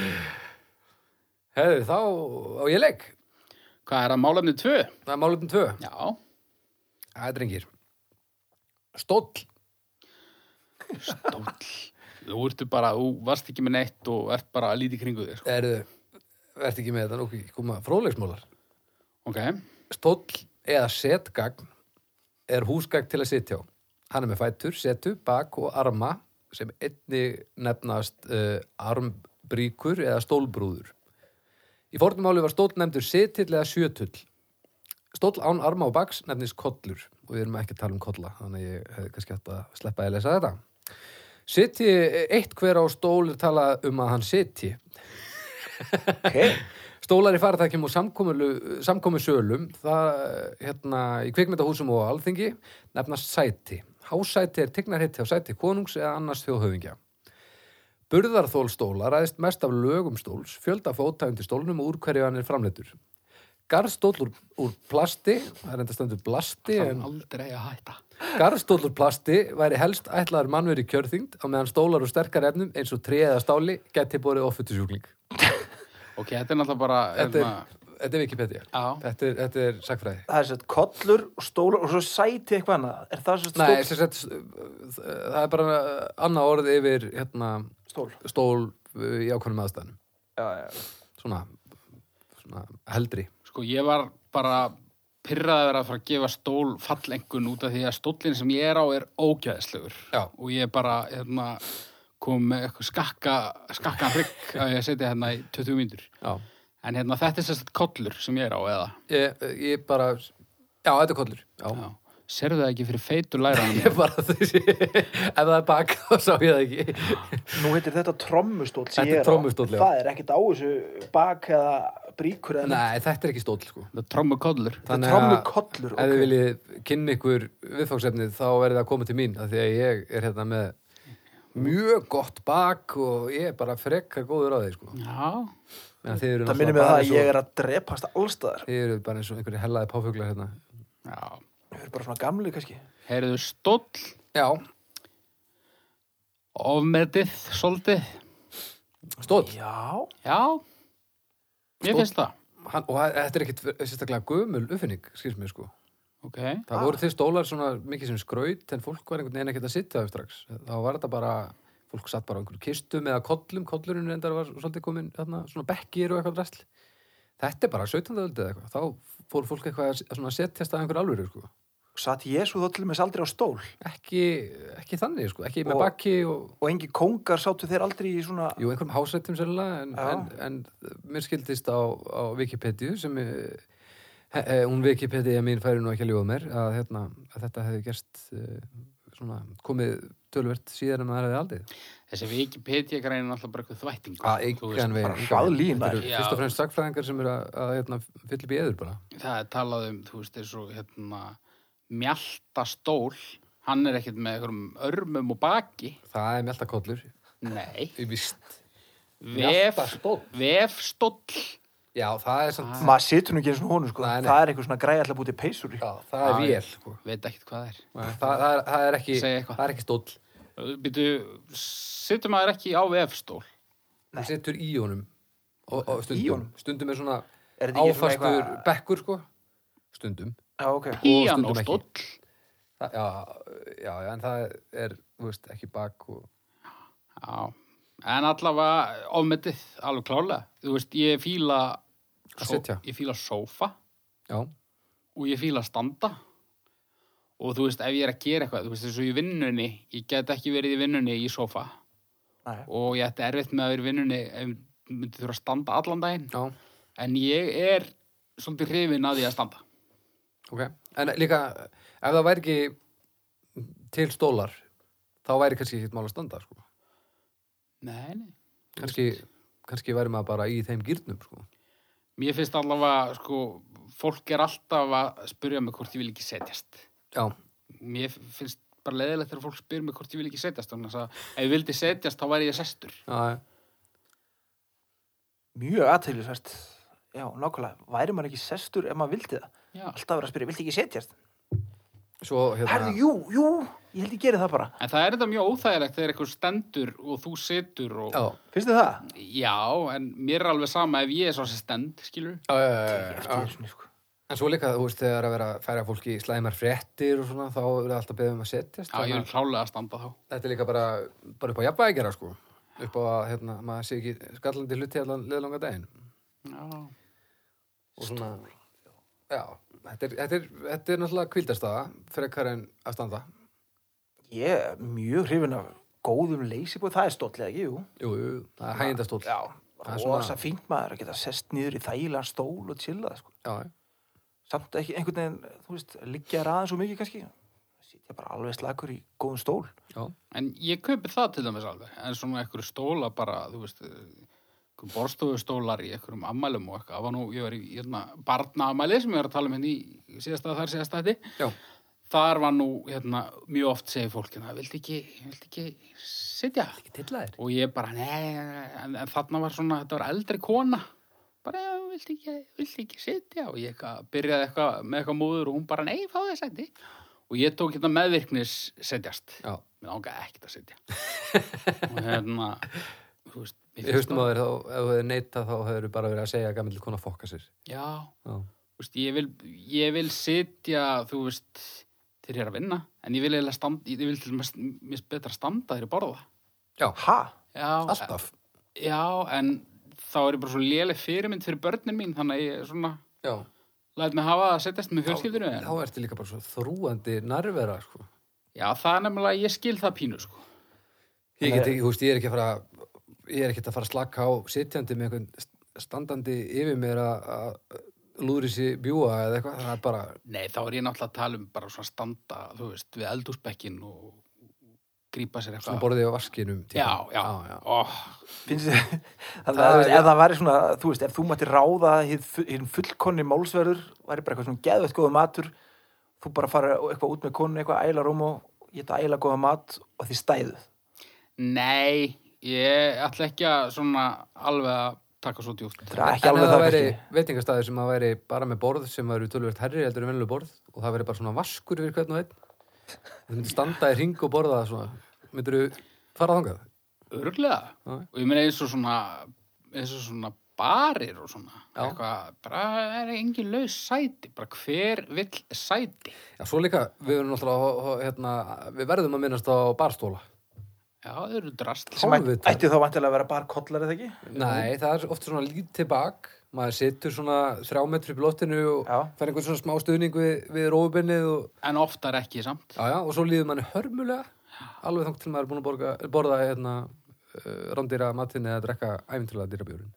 B: hefðu þá á ég legg
C: hvað er að málefni tvö?
B: það er málefnum tvö
C: Já,
B: það er drengir stóll
C: stóll. Þú ertu bara, þú varst ekki með neitt og ert bara að líti kringu sko. þér.
B: erðu, verð ekki með þetta nú ekki koma fróðleiksmólar
C: Ok,
B: stóll eða setgagn er húsgagn til að sitja á. Hann er með fætur, setu, bak og arma sem einni nefnast uh, armbríkur eða stólbrúður. Í fornumáli var stóll nefndur setill eða sjötull. Stóll án arma og baks nefnist kollur og við erum ekki að tala um kolla, þannig að ég hefði kannski hægt að sleppa að lesa þetta. Sitji eh, eitt hver á stóli tala um að hann sitji
A: Ok,
B: Stólar í faratækjum og samkomu- samkomusölum, það hérna í kvikmyndahúsum og á alþingi, nefnast sæti. Hásæti er tignarhitti á sæti konungs eða annars þjóðhöfingja. Burðarþól stóla ræðist mest af lögum stóls, fjölda fóta undir stólnum og úr hverju hann er framleittur. Garðstóll úr, úr plasti, það er enda stendur blasti,
C: það
B: en
C: er aldrei að hætta.
B: Garðstólur plasti væri helst ætlaður mannveri kjörþyngd á meðan stólar og sterkar efnum eins og tré eða stáli geti borið offutusjúkling.
C: Ok, þetta er náttúrulega bara,
B: Þetta
C: hérna,
B: er, þetta er Wikipedia.
C: já,
B: Þetta er, þetta er sagfræði.
A: það er sett kollur og stólar og svo sæti eitthvað annað. Er það sett
B: Nei,
A: stóll?
B: sem sagt, það er bara annað orð yfir hérna,
A: Stól.
B: stól uh, í ákvæmum aðstæðanum.
A: Já, já.
B: Svona, svona heldri.
C: sko ég var bara pyrraði verið að fara að gefa stól fallengun út af því að stólinn sem ég er á er ógæðislegur.
B: Já.
C: og ég bara hérna, kom með eitthvað skakka skakka hrygg að ég setja hérna í 20 mínútur
B: Já.
C: en hérna, þetta er sérstætt kollur sem ég er á eða
B: Ég, ég bara, já, þetta er kollur. Já.
C: já. serðu það ekki fyrir feitur læra
B: Ég [LAUGHS] bara þessi, ef það er bak, þá sá ég það ekki.
A: Nú heitir þetta trommustól sem
B: Þetta
A: ég
B: er
A: er á.
B: trommustól, já.
A: Það er ekkert á þessu bak eða bríkur eða
B: Nei, þetta er ekki stóll, sko.
C: það trommu kollur
A: Það
B: Þannig
A: er
B: að-
A: trommukollur.
B: Ef þið
A: ok.
B: viljið kynna ykkur viðfangsefnið, þá verðið að koma til mín, af því að ég er hérna með mjög gott bak og ég er bara frekar góður á því, sko.
C: já,
B: Það minnir
A: Það minnir mig á það að ég er að drepast allstaðar.
B: Þið eru bara eins og einhverju hellaði páfuglar hérna.
C: já
A: Við erum bara svona gamli kannski.
C: heyrðu stóll,
B: Já,
C: ofmetið, soldið
B: stóll.
A: Já.
C: já, ég
B: Stóll.
C: finnst það
B: Hann, og það- þetta er ekkit sérstaklega gömul uppfinning, skils mér sko.
C: ok,
B: Það
A: Ah.
B: voru til stólar svona mikið sem skraut en fólk var einhvern veginn ekkert að sitja þau strax. Þá var þetta bara, fólk satt bara á einhverju kistum eða kollum, kollurinn reyndar var svolítið komin þarna, svona bekkir og eitthvað drasl. Þetta er bara 17. öldið eða eitthvað. Þá fór fólk eitthvað að s- svona setjast að einhverju alvöru sko.
A: Satt Jésu þó til og með aldrei á stól
B: Ekki, ekki þannig sko, ekki með
A: Og-
B: bakki og...
A: og engi kongar sátu þeir aldrei í svona
B: Jú, einhverjum hásættum sérlega en,
A: Já.
B: en, en mér skildist á, á Wikipedia sem eh, he, he, hún Wikipedia mín færi nú ekki að ljóða mér að, hérna, að þetta hefði gerst uh, svona, komið tölvert síðan en maður hefði aldrei.
C: þessi Wikipedia greinin er alltaf bara eitthvað þvætting
B: Að engan veginn.
A: bara
B: engan
A: hraðlína.
B: veginn. Þetta eru
C: Já.
B: Fyrst og fremst sagfræðingar sem eru að, að hérna, fylla upp í eður bara.
C: það er talað um, þú veist, eins og hérna, mjaltastól hann er ekkert með einhverjum örmum og baki
B: Það er mjöldakollur.
C: nei,
B: Í vist.
C: vef
B: Mjaltastóll.
C: vefstóll
B: Já, það er samt...
A: maður situr nú ekki eins og honum sko
B: Nei, nei.
A: það er eitthvað svona græði alltaf bútið peysur í
B: Já, það er
C: Já,
B: vél. Sko.
C: veit ekkert hvað það
B: Það, það, er, það, er ekki,
C: Segðu eitthvað.
B: það er ekki stóll.
C: er býtu, sittum maður ekki á vefstól
B: Þú setur í honum og, og stundum,
A: Í honum?
B: stundum er svona
A: Er þetta ekki svona
B: áfastur
A: eitthvað-
B: bekkur sko stundum
A: já ok
C: pían og
B: stundum ekki.
C: stóll
B: Þa, já, já, já, en það er þú veist, ekki bak og...
C: já. en allavega ofmetið, alveg klálega þú veist, ég fíla
B: Að
C: só-
B: sitja.
C: ég fíla sófa
B: já,
C: og ég fíla að standa og þú veist, ef ég er að gera eitthvað þú veist, eins og í vinnunni, ég get ekki verið í vinnunni í sofa
A: Nei.
C: og ég ætti erfitt með að vera í vinnunni ef ég myndi þurfa að standa allan daginn
B: já,
C: en ég er svolítið hrifin að því að standa
B: ok en líka, ef það væri ekki til stólar þá væri kannski ekkert mál að standa sko.
C: nei, nei.
B: kannski, kannski væri maður bara í þeim gýrnum sko.
C: mér finnst allavega, sko fólk er alltaf að spyrja mig hvort ég vil ekki setjast
B: já,
C: mér finnst bara leðilegt þegar fólk spyr mig hvort ég vil ekki setjast þannig að ef ég vildi setjast þá væri ég sestur
B: já, já.
A: mjög aðtælisvert já, nákvæmlega, væri maður ekki sestur ef maður vildi það,
C: Já.
A: alltaf verið að spyrja vildi ekki setjast,
B: Svo, hérna,
A: herðu, jú, jú ég held ég geri það bara,
C: en það er þetta mjög óþægilegt þegar eitthvað stendur og þú setur og...
B: já,
A: finnst þið það?
C: Já, en mér er alveg sama ef ég er svo sem stend skilur
B: já, já, já, já,
A: Eftir
B: já.
A: þessu, sko.
B: En svo líka, þú veist, þegar að vera að færa fólki í slæmar fréttir og svona, þá er alltaf beðið um að setjast.
C: Já,
B: þannig
C: ég er
B: að
C: klálega að standa þá
B: Þetta er líka bara, bara upp á jafnvægi að gera, sko. Upp á að, hérna, maður sé ekki skallandi hluti allan leðlanga daginn.
C: Já,
B: Og svona, já, þetta er, þetta er, þetta er náttúrulega kvildastaða, frekar en að standa.
A: ég er mjög hrifin af góðum leysibúð, það er stóttlega ekki, jú
B: Jú, jú, jú, það er hægindastól.
A: já,
B: Það er
A: rosa
B: svona-
A: fínt maður að geta sest nýður í þægilegan stól og chilla, sko
B: Já, já.
A: samt ekki einhvern veginn, þú veist, liggja raðan svo mikið kannski, sitja bara alveg slakur í góðum stól,
B: já.
C: en ég kaupi það til dæmis alveg en svona einhverju stóla bara, þú veist einhverjum borstofustólar í einhverjum ammælum og eitthvað, það var nú, ég var í hérna, barnaamæli sem ég var að tala um henni í síðasta þar síðasta þetta
B: Já,
C: þar var nú, hérna, mjög oft segir fólk hérna, vildi ekki, vildi ekki sitja
B: ekki tilla þér.
C: og ég bara, nei, en, en þarna var svona, þetta var eldri kona bara, já, vildi ekki, vildi ekki sitja og ég eitthvað, byrjaði eitthvað með eitthvað móður og hún bara, nei, fá þess endi og ég tók hérna meðvirknis setjast
B: Já,
C: mér langaði ekkert að sitja og hérna, þú veist
B: ég
C: mér finnst
B: haustum að þér þá, ef þú hefur neitað þá hefur bara verið að segja að gamil konar fokka sér.
C: það- já,
B: Já,
C: þú veist, ég vil ég vil sitja, þú veist þegar ég er að vinna, en ég vil eiginlega standa ég vil til mest, mest betra standa þegar ég borða
B: já
A: ha?
C: já,
B: alltaf.
C: Já, en þá er ég bara svo léleg fyrirmynd fyrir börnin mín, þannig að ég svona
B: Já,
C: læt mig hafa að setjast með fjölskyldinu en
B: þá ertu líka bara svo þrúandi nærvera, sko.
C: já, það er nefnilega, ég skil það pínu sko.
B: Ég,
A: Nei.
B: get, ekki- þú veist, ég er ekki að fara ég er ekki að fara að slaka á sitjandi með einhvern st- standandi yfir mér að- að lúðri sér bjúa eða eitthvað, það er bara
C: Nei, þá er ég náttúrulega að tala um bara svona standa, þú veist, við eldúsbekkin og grípa
B: svona
C: sér eitthvað
B: borðið á vaskinum tíma.
C: Já, já,
B: já,
C: já. Oh,
A: Finnst þið, [LAUGHS] þannig
B: Það
A: að þú
B: er-
A: veist, ef það væri svona, þú veist, ef þú mætti ráða hinn hin fullkonni málsverður, væri bara eitthvað svona geðveitt góða matur, þú bara fara eitthvað út með konu, eitthvað æla rúm og geta æla góða mat og því stæðu.
C: Nei, ég ætla ekki að svona alveg að taka svo djúpt
A: Það er ekki
B: En ef
A: alveg
B: það
A: það
B: væri
A: kannski.
B: veitingastæður sem að væri bara með borð sem væri tölvöld herri heldur en venlu borð og það væri bara svona vaskur yfir hvern og einn þú myndir standa í ring og borða svona myndir þú fara þangað
C: Örglega
B: Já.
C: Og ég meina eins og svona eins og svona barir og svona
B: Já.
C: eitthvað, bara er engin laus sæti bara hver vill sæti
B: Já, svo líka, við verðum náttúrulega að- hérna, við verðum að minnast á barstóla
C: Já, þau eru drast
A: Sem að-
B: Hálfvita.
A: ætti þá vantilega að vera barkollar eða ekki?
B: Nei, það er oft svona lítið bak maður situr svona þrjá metri í blottinu og
A: Já.
B: fær einhvern svona smá stuðning við, við rófubinnið og,
C: En oftar ekki samt
B: já, já, og svo líður manni hörmulega alveg þangt til maður er búin að borga, borða hérna, uh, rándýra matinn eða drekka æfintilega dýrabjörun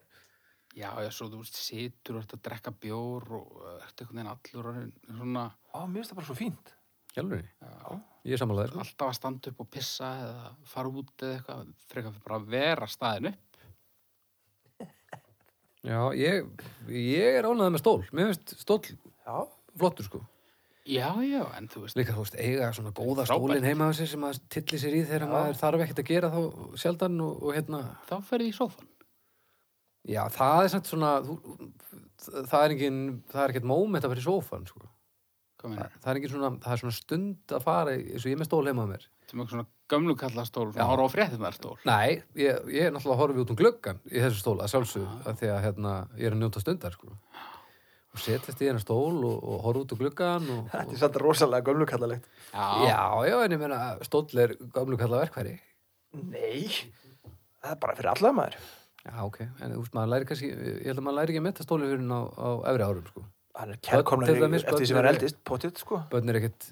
C: Já, já, svo þú veist, situr og ert að drekka bjór og uh, ert einhvern veginn allur orðinn svona
A: Á, mér finnst það bara svo fínt.
B: Hjálfurni, ég er sammálaðið sko.
C: alltaf að standa upp og pissa eða fara út eða eitthvað frekar bara að vera staðinu
B: Já, ég, ég er ánæðið með stól mér finnst stól
A: Já,
B: flottur sko
C: Já, já, en þú veist
B: Líka, þú veist, eiga svona góða
C: Frábært.
B: stólinn heima á sér sem maður tillir sér í þegar maður þarf ekkert að gera þá sjaldan og, og hérna
C: þá ferði í sófan
B: Já, það er samt svona þú, það er engin, það er ekkert moment að vera í sófan, sko.
C: Hvað
B: Það,
C: meinar?
B: það er engin svona, það er svona stund að fara í- eins og ég er með stól heima á mér.
C: Þetta er mjög svona gömlu kallastól svona horfa á fréttinnar stól
B: Nei, ég, ég er náttúrulega að horfa út um gluggan í þessu stól að sjálfsögðu, ah. því að hérna, ég er að njóta stundar, sko. Og setjast í hérna stól og, og horfa út um gluggan og,
A: þetta
B: og
A: er satt rosalega gömlukallalegt.
C: Já,
B: Já, já, en ég meina, stól er gamlu kalla verkfæri.
A: Nei, það er bara fyrir alla maður.
B: Já, ok, en þú veist, maður læri kannski, ég held að maður læri ekki að metta stóli fyrir á, á efri árum, sko.
A: Hann er
B: Til
A: kærkomlega
B: dæmis
A: eftir því sem
B: börn
A: er
B: eru-
A: eldist, potið, sko.
B: Bönn er ekkert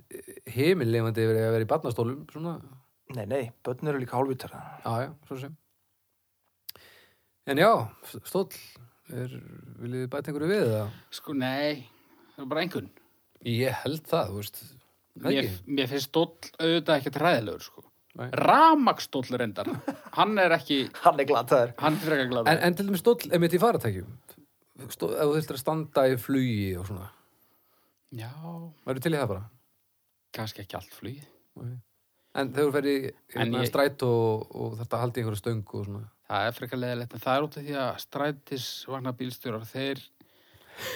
B: heimillefandi yfir að vera í barnastólum, svona,
A: Nei, nei, börn eru líka hálfvítar.
B: Já, já, svo sem. En já, stóll, er, viljið þið bæta einhverju við það?
C: sko, nei það er bara einhvern
B: Ég held það, þú veist. Það
C: Mér,
B: ekki?
C: mér finnst stóll auðvitað ekkert ræðilegur sko.
B: Nei.
C: Ramakstóll reyndar Hann er ekki,
A: Hann er glataður.
C: hann er frekar
B: En,
C: gladur
B: en til dæmis stóll, emitt í faratækjum, stóll, ef þú þurftir að standa í flugi og svona,
C: Já,
B: verður til í það bara?
C: kannski ekki allt flugið.
B: En þegar þú ferði
C: En
B: hérna,
C: ég-
B: stræt og, og þetta haldi einhverju stöngu og svona.
C: Það er frekar leðilegt, en það er út af því að strætisvagna bílstjórar, þeir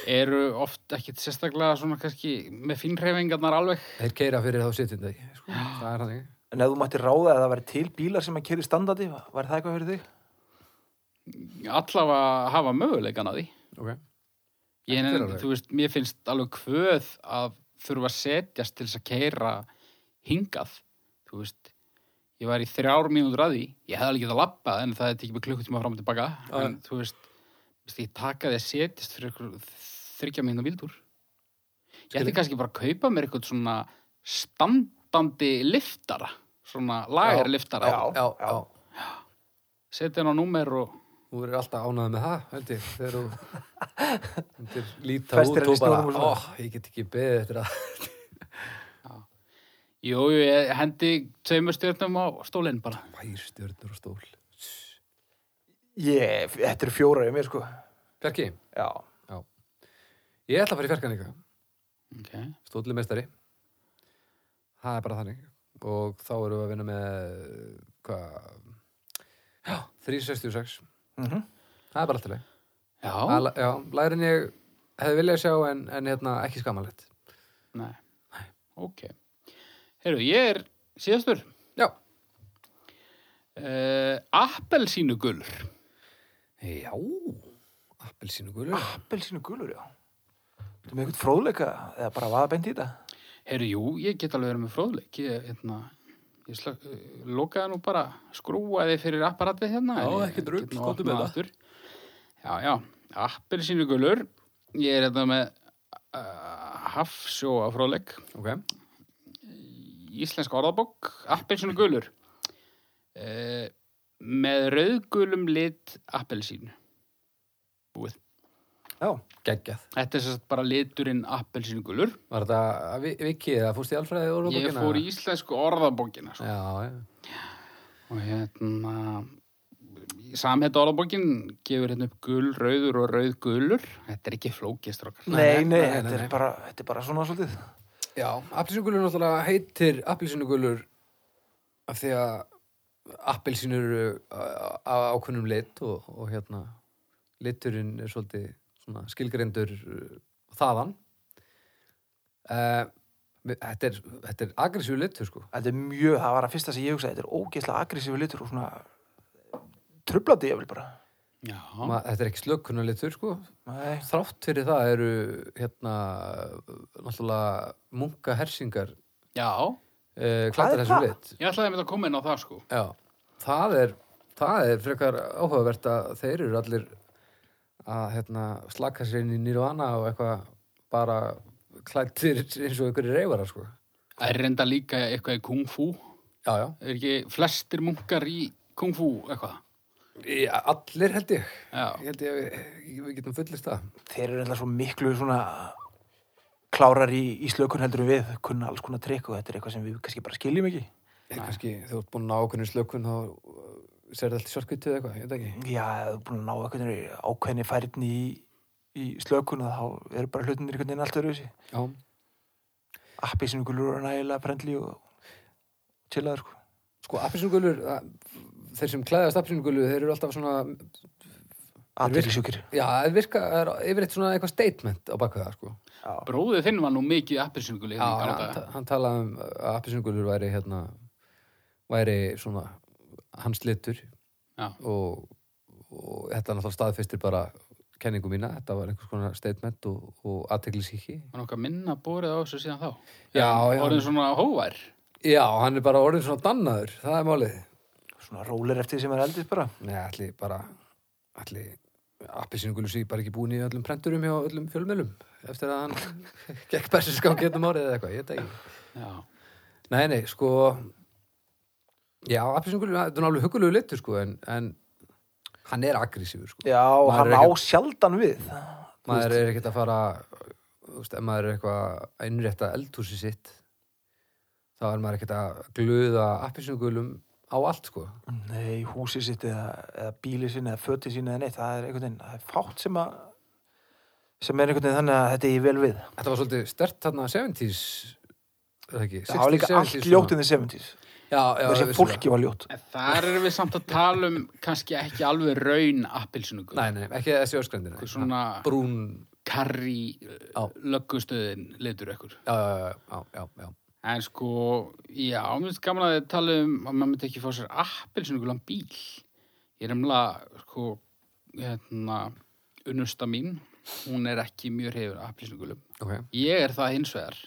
C: eru oft ekkit sérstaklega svona kannski með fínreifingarnar alveg.
B: Þeir keira fyrir þá sitjandi ekki, sko. Það er hann ekki.
A: En ef þú mætti ráða að það væri til bílar sem að keri standandi, væri það eitthvað fyrir þig?
C: Allavega hafa möguleikan að því.
B: Ok.
C: Ég,
B: Þetta er
C: en,
B: alveg.
C: þú veist, mér finnst alveg kvöð að þurfa að setjast til þess að keira hingað. Þú veist, ég var í þrjár mínútur að því. Ég hefði alveg getað labbað en það hefði tekið mig klukkutíma fram og tilbaka.
B: Já, já.
C: En þú veist, þú veist, ég takaði að setjast fyrir ykkur þryggja mínútur vildur. Ég ætti
B: Skilji.
C: kannski bara að kaupa mér eitthvað svona standandi liftara, svona lagarliftara.
A: Já,
B: Já, já.
A: já.
C: Setja hann á númer og...
B: Þú verður alltaf ánægð með það, held ég. Þegar þú myndir líta
A: Festir
B: út
A: hann í
B: og bara,
A: snjónum og
B: ó,
A: svona."
B: ég get ekki beðið eftir að. [LAUGHS]
C: Jú, jú, ég hendi tveimur stjórnum á stólinn bara.
B: Vær stjörnur og stól.
A: Ég, þetta eru fjórar í mér, sko.
B: Bjarki,
A: Já.
B: ég ætla að fara í fjarkan eitthvað.
C: Okay.
B: Stóli meistari. Það er bara þannig. Og þá erum við að vinna með, hvað, já, 366.
A: Mm
B: Það er bara alltaf leið.
C: Já.
B: Að la- Já, lærin ég hefði viljað sjá en, en hérna, ekki skamalegt.
C: Nei. Ok. Heyrðu, ég er síðastur.
B: Já.
C: Uh, Appelsínugulur.
B: Já. Appelsínu gulur.
A: Appelsínu gulur, já. Þú með eitthvað fróðleika eða bara vaða beint í þetta.
C: Heyrðu, jú, ég get alveg verið með fróðleik. Ég, hérna, ég slag, uh, lokaði nú bara skrúaði fyrir apparatið hérna.
B: Já,
C: en ég
B: ekkert rugl,
C: get nú
B: komdu
C: opnað
B: með það.
C: aftur. Já, já. Appelsínugulur. Ég er hérna með uh, hafsjóa fróðleik.
B: Ok.
C: íslensk orðabók, appelsinu gulur uh, með rauðgulum lit appelsínu búið.
A: Já.
B: Geggjað.
C: Þetta er sérst bara liturinn appelsinu gulur.
B: Var þetta vi- Viki eða fórst í alfræði og
C: Ég fór í íslensku orðabókina svo.
B: Já, já.
C: og hérna samhætt orðabókin gefur hérna upp gul, rauður og rauðgulur þetta er ekki flókistrókar
A: Nei, nei,
B: nei,
A: þetta,
B: nei,
A: Er
B: nei.
A: bara, þetta er bara svona svolítið.
B: Já, appelsínugulur náttúrulega heitir appelsínugulur af því að appelsínur eru á- á ákveðnum lit og, og hérna liturinn er svolítið svona skilgreindur uh, þaðan uh, þetta er, þetta er agressíu litur sko
A: Þetta er mjög, það var að fyrsta sem ég hugsaði, þetta er ógeðslega agressífi litur og svona trublandi ég vil bara.
C: Já,
B: Ma, þetta er ekki slökunar litur sko
A: Nei,
B: þrátt fyrir það eru hérna náttúrulega munka hersingar
C: já,
B: uh,
A: Hvað er
B: klættar þessu
A: það?
B: lit
C: ég ætlaði að mynda að koma inn á það sko
B: Já, það er, það er frekar áhugavert að þeir eru allir að hérna, slaka sér inn í nýrvana og eitthvað bara klættir eins og einhverju reyfarar sko.
C: Það er reynda líka eitthvað í kung fu
B: Já, já.
C: er ekki flestir munkar í kung fu eitthvað
B: Í- Allir held ég.
C: Já.
B: Ég held ég að við getum fullist það.
A: þeir eru alltaf svo miklu svona klárar í, í slökun heldur en við, kunna alls konar trikk og þetta er eitthvað sem við kannski bara skiljum ekki.
B: Ég kannski, þú ert búin að ná okkurinn slökun þá uh, serðu allt í svartkvítu eða eitthvað, ég veit ekki.
A: Já, ef þú er búin að ná eitthvað ákveðni færni í, í slökun og þá eru bara hlutinir einhvern veginn allt öðru þessi.
B: Já.
A: Appi sem ykkur lúra nægilega frendli og chillaður sko.
B: Sko, appisunugulur, þeir sem klæðast appisunugulur, þeir eru alltaf svona,
A: Aðeinsjúkir.
B: já, þeir virka, það er yfirleitt svona eitthvað statement á bakvið það, sko.
C: Bróðið þinn var nú mikið appelsinguli
B: Já, hann, ta- hann talaði um að appisungulur væri hérna væri svona hans litur
C: Já.
B: og, og þetta náttúrulega staðfistir bara kenningu mína, þetta var einhvers konar statement og, og aðteglisíki
C: Var nokkað minna borið á þessu síðan þá
B: Já,
C: En
B: já.
C: Orðin svona hóvær
B: Já, hann er bara orðin svona dannaður, það er málið
A: Svona rólir eftir því sem er eldist bara.
B: Nei, allir bara allir appisungulur sé bara ekki búin í öllum prenturum hjá öllum fjölmjölum eftir að hann [LAUGHS] gekk bersinskáki hérna árið eða eitthvað, ég veit það ekki
C: Já,
B: Nei, nei, sko Já, appelsingulur, þetta er alveg hugulegu litur sko, en, en hann er aggressífur sko.
A: Já,
B: Maður
A: hann
B: er
A: á
B: ekkert-
A: sjaldan við.
B: maður er ekkert að fara þú veist, ef maður er eitthvað að innrétta eldhúsi sitt þá er maður ekkert að gluða appelsingulum á allt sko.
A: Nei, húsið sitt eða, eða bílið sinni eða fötið sinni eða neitt. Það er einhvern veginn, það er fátt sem að sem er einhvern veginn þannig að þetta er ég vel við.
B: Þetta var svolítið stert þarna 70s er það ekki?
A: það var líka
B: 60s,
A: allt
B: 70s
A: ljótt
B: svona.
A: in the 70s
B: Já, já,
A: þessi
B: vissulega.
A: fólki var ljótt
C: En Þar erum við samt að tala um kannski ekki alveg raun appilsinugul.
B: Nei, nei, ekki þessi öskrendin
C: Svona
B: Brún,
C: karri
B: Já.
C: löggustöðin litur ykkur.
B: já, já, já, já, já, já.
C: En sko, já, mér finnst gaman að þið tala um að maður myndi ekki fá sér appilsinugulan bíl. Ég er umlega, sko, hérna, unnusta mín, hún er ekki mjög hefur appilsinugulum.
B: Ok,
C: Ég er það hins vegar,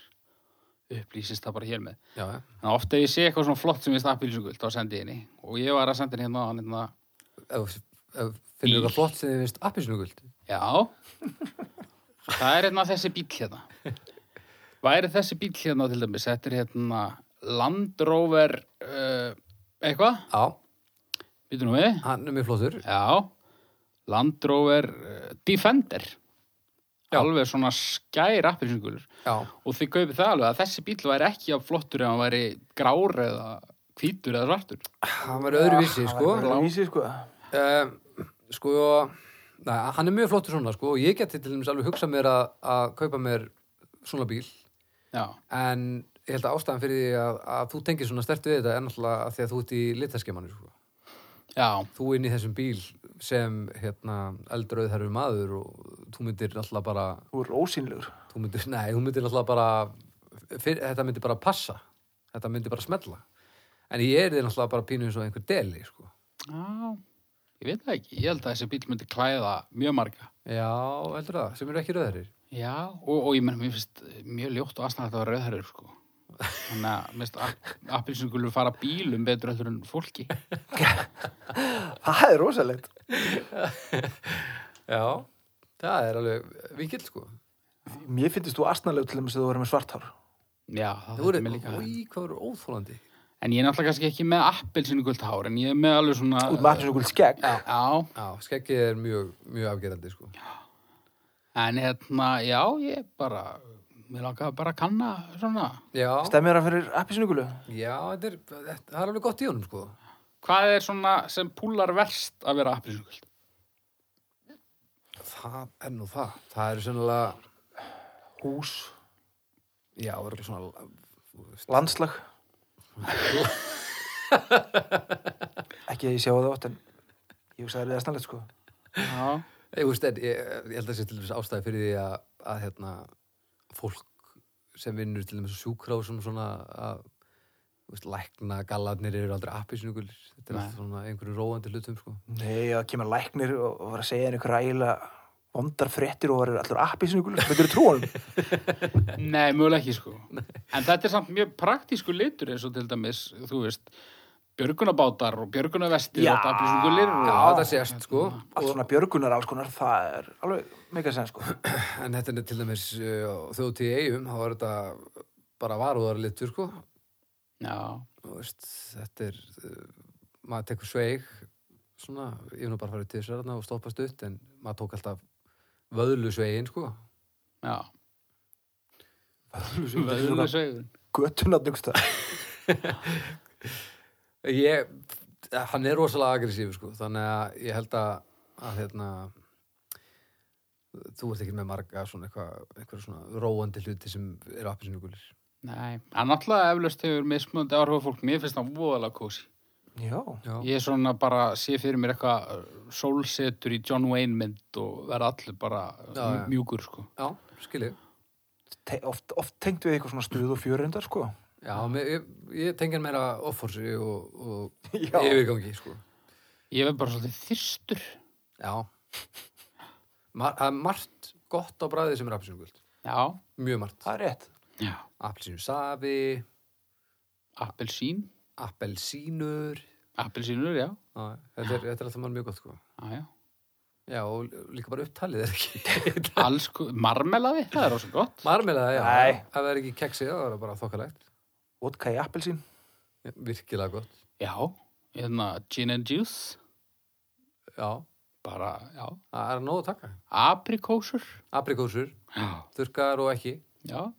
C: upplýsist það bara hér með.
B: já, já
C: Þannig að ofta ef ég sé eitthvað svona flott sem ég stað appilsingult, þá sendi ég henni. Og ég var að senda henni hérna á hann hérna,
B: Ef- ef Finnur
C: Bíl.
B: það flott sem þið finnst appisnugult
C: já, það er hérna þessi bíl hérna. Væri þessi bíl hérna til dæmis, þetta er hérna Land Rover uh, eitthvað,
B: Já,
C: býtum nú við,
B: hann er mjög flottur
C: já, Land Rover uh, Defender.
B: Já.
C: Alveg svona skær appilsingulur.
B: Já,
C: Og þið kaupið það alveg að þessi bíl væri ekki af flottur ef hann væri grár eða hvítur eða svartur.
B: hann var öðruvísi,
A: Það
B: sko
A: var öðruvísi sko
B: um, sko neða, hann er mjög flottur svona sko og ég geti til dæmis alveg hugsað mér að, að kaupa mér svona bíl
C: Já,
B: en ég held að ástæðan fyrir því að, að þú tengir svona stert við þetta er náttúrulega að því að þú ert í litaskemanu sko.
C: já.
B: þú inn í þessum bíl sem hérna, eldrauðherru maður og þú myndir náttúrulega bara
A: þú er ósynlegur
B: þú myndir, [LAUGHS] nei, þú myndir náttúrulega bara fyrir, þetta myndir bara passa þetta myndir bara smella en ég er því náttúrulega bara pínu eins og einhver deli sko.
C: Já, ég veit það ekki. Ég held að þessi bíl myndi klæða mjög marga.
B: já, heldur það, sem eru ekki rauðherrir
C: Já, og, og ég menn, mér finnst mjög ljótt og aðsnaðið að vera rauðherrur, sko. Þannig að, mér finnst, appilsingulur fara bílum betur öllur en fólki.
A: það er rosalegt
B: Já, það er alveg vingill sko.
A: mér finnst þú astnalegu til þess að þú verður með svarthár
C: Já, það
B: Það voru,
C: þetta mér líka.
B: í hvað voru óþólandi.
C: En ég er náttúrulega kannski ekki með appilsingult hár, en ég er með alveg svona...
A: út með appilsingult skegg
C: Já, já,
B: Já, skeggið er mjög, mjög afgerandi sko.
C: en hérna, já, ég bara, mér langaði bara að kanna svona.
B: Já,
A: stemmir hann fyrir appilsingulu
B: já þetta, er, þetta það er alveg gott í honum sko.
C: Hvað er svona sem púlar verst að vera appilsingult?
B: Það er nú það. Það eru sennilega,
A: hús,
B: já, það eru svona, þú veist,
A: landslag ekki að ég sjá það átt en ég hugsa það er astnalegt sko
C: Já,
B: ég, veist en, ég, ég held að sé til þess ástæði fyrir því að, að hérna, fólk sem vinnur til þess sjúkrásum svona að, þú veist, lækna gallarnir eru aldrei appisnugulir. Þetta er
C: Nei.
B: alltaf svona einhverju róandi hlutum sko.
A: Nei, það kemur læknir og og var að segja henni ykkur ægilega vondar fréttir og var allur appilsingul þetta eru trúanum
C: Nei, mögulega ekki
B: [LAUGHS]
C: sko. En þetta er samt mjög praktísku litur eins og til dæmis, þú veist, björgunabátar og björgunavestir
A: Já.
C: og daflýsingulir.
B: Já,
C: Og...
B: það sést sko.
A: allt svona björgunar alls konar, það er alveg mega sen sko
B: En þetta er til dæmis uh, þjóðtíð í eigum, þá er þetta bara varúðarlitur, sko.
C: Já,
B: Þú Veist, þetta er, uh, maður tekur sveig, svona, ég er nú bara farið til þessar þarna og stoppast upp, en maður tók alltaf vöðlu sveigin, sko.
C: já.
A: Svona
C: Vöðlusveigur.
A: göttunat yngsta
B: Ég, hann er rosalega agressíf, sko, þannig að ég held að, að hérna, þú ert ekki með marga svona eitthvað, eitthvað svona róandi hluti sem eru appinsínugulir.
C: Nei, hann alltaf eflaust hefur mismunandi áhrif á fólk. Mér finnst það voðalega kósi.
A: já,
B: Já.
C: Ég er svona bara, sé fyrir mér eitthvað uh, sólsetur í John Wayne mynd og verða allir bara
B: Já, já.
C: mjúkur sko.
B: Já, skiljið.
A: Te oft, oft tengt við eitthvað svona stuð og fjörundar sko
B: Já, mér, ég, ég tengja meira offorsi og, og
A: Já.
B: yfirgangi, sko.
C: Ég verð bara svolítið þyrstur.
B: Já. Mar, það er margt gott á bræði sem er appelsínugult.
C: Já,
B: Mjög margt.
A: það er rétt
C: já.
B: Appelsínusafi,
C: Appelsín,
B: appelsínur.
C: appelsínur, já.
B: Já, þetta er, þetta er alltaf mjög gott, sko.
C: Já, já.
B: Já, og líka bara upptalið er ekki. [LAUGHS]
C: Alls, ko- marmelaði, það er rosa gott.
B: Marmelaði, já.
A: Nei.
B: Ef það er ekki keksið, það er bara þokkalegt.
A: vodka í appilsín
B: Virkilega gott.
C: Já, hérna gin and juice,
B: Já,
C: bara, já,
B: það er nóg að taka.
C: aprikósur.
B: Aprikósur,
C: Já.
B: þurkar og ekki.
C: Já,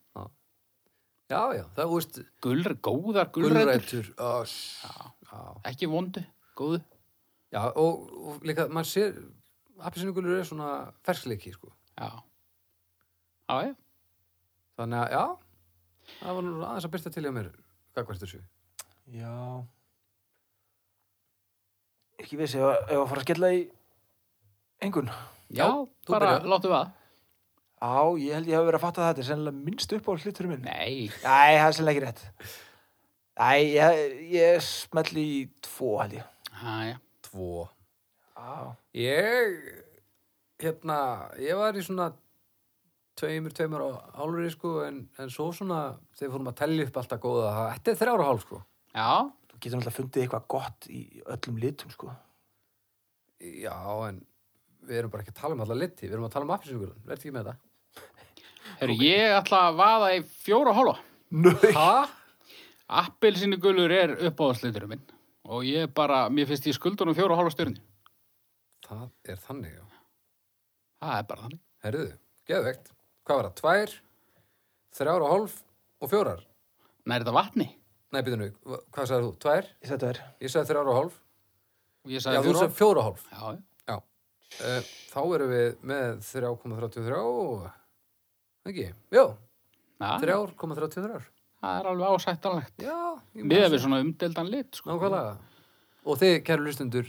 B: Já, já, það, þú veist,
C: gulr, góðar gulrætur,
B: gulrætur. Já. Já.
C: ekki vondu, góðu.
B: Já, og, og líka, maður sér appisínugulur er svona fersleiki, sko.
C: Já, já, já.
B: Þannig að, já, það var nú aðeins að byrta til hjá mér gagvart þessu
A: Já Ekki vissi, ef, ef að fara að skella í einhvern
C: Já,
B: þú
C: bara
B: byrjar.
C: láttu við að.
A: Já, ég held ég hafi verið að fatta þetta er sennilega minnst upp á hlutur minn
C: Nei,
A: Nei, það er sennilega ekki rétt Nei, ég, ég smelli í tvo held ég
C: hæja.
B: tvo
A: Já,
B: ég hérna, ég var í svona tveimur, tveimur á hálfri sko, en, en svo svona þegar fórum að tellja upp alltaf góða, það- þetta er þrjára hálf sko
C: Já,
A: þú getur náttúrulega fundið eitthvað gott í öllum litum sko
B: já, en við erum bara ekki að tala um alla liti, við erum að tala um appelsinugulun, verð ekki með þetta
C: Heru, ég ætla að vaða í fjóra og hálfa.
A: Nau
B: ha?
C: Appelsinu er uppáðasliturum minn og ég bara, mér finnst ég skuldunum fjóra og hálfa stjörnu.
B: það er þannig, já
C: Það er bara þannig.
B: herruðu, geðvegt, hvað var það, tvær þrjára hálf og fjórar
C: Nær þetta vatni?
B: nei, býtum við, hvað sagði þú, tvær
A: Þetta er
B: ég sagði þrjára og hálf,
C: Og ég
B: já,
C: sagði
B: þú
C: fjóra og
B: sagði fjóra og hálf
C: hálfa. Já,
B: Já, uh, þá erum við með 3,33 og- ekki, já,
C: já.
B: 3,33
C: það er alveg ásættanlegt.
B: Já, ég man
C: Miða
B: þessu.
C: við svona umdeldan lit, sko.
B: Nákvæmlega Og þið, kæru lustundur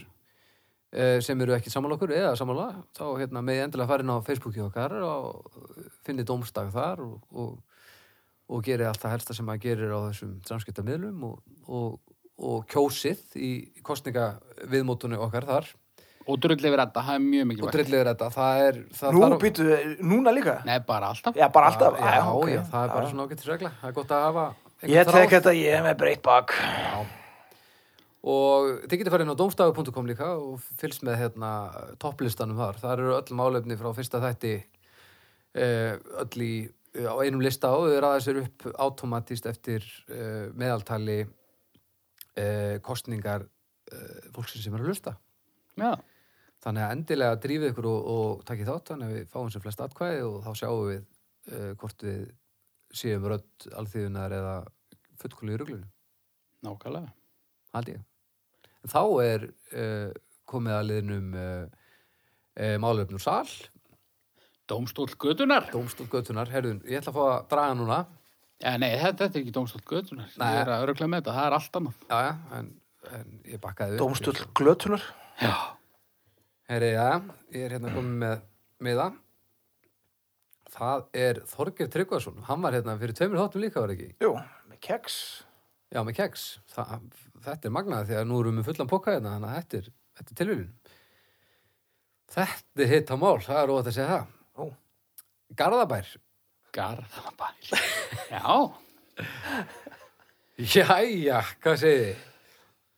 B: eh, sem eru ekki sammála okkur eða sammála þá hérna, með endilega farin á Facebooki okkar og eh, finnið dómstag þar og, og, og gerið allt það helsta sem maður gerir á þessum samskiptamiðlum og, og, og kjósið í kostninga viðmótunni okkar þar
C: Og drullið við þetta, það er mjög
B: og
C: mikilvægt.
B: drillið er þetta það er, það
A: Nú
B: þarf-
A: býtu, núna líka?
C: Nei, bara alltaf.
A: Já, bara alltaf Ah,
B: Já, já,
A: ok.
B: það er bara svona ágættis regla Það er gott að hafa
A: Ég
B: einhvern
A: tek
B: ráð.
A: þetta, ég er með breytt bak
B: Og þið getur farið inn á domstafu.com líka og fylgst með hérna, topplistanum þar Þar eru öll málefni frá fyrsta þætti eh, öll í á einum lista og þau raða sér upp automatist eftir eh, meðaltali eh, kostningar eh, fólksins sem er að lusta
C: Já.
B: Þannig að endilega drífið ykkur og, og takkið þátt þannig að við fáum sem flest atkvæði og þá sjáum við uh, hvort við séum rödd alþýðunar eða fullkólu í ruglunum,
C: Nákvæmlega.
B: held ég. En þá er uh, komið að liðnum uh, uh, málefnur sal,
C: Dómstóll gödunar.
B: dómstól göttunar, herðun, ég ætla að fá að draga núna,
C: Já, nei, þetta, þetta er ekki dómstóll gödunar.
B: Nei.
C: Ég er að örgla með þetta, það er allt annað.
B: já, já, en, en ég bakkaði upp.
A: Dómstull glötunar
C: Já.
B: Herri, já, ég er hérna komið með miða. Það er Þorgeir Tryggvason, hann var hérna fyrir tveimur þáttum líka var ekki?
A: Jú, með keks
B: Já, með keks. Þa, þetta er magnaði því að nú erum við fullan poka hérna, þannig að þetta er, þetta er tilvílun. Þetta er hitt á mál, það er óvægt að segja það.
A: Ó.
B: Garðabær.
C: Garðabæl. Já.
B: Jæja, hvað segið þið?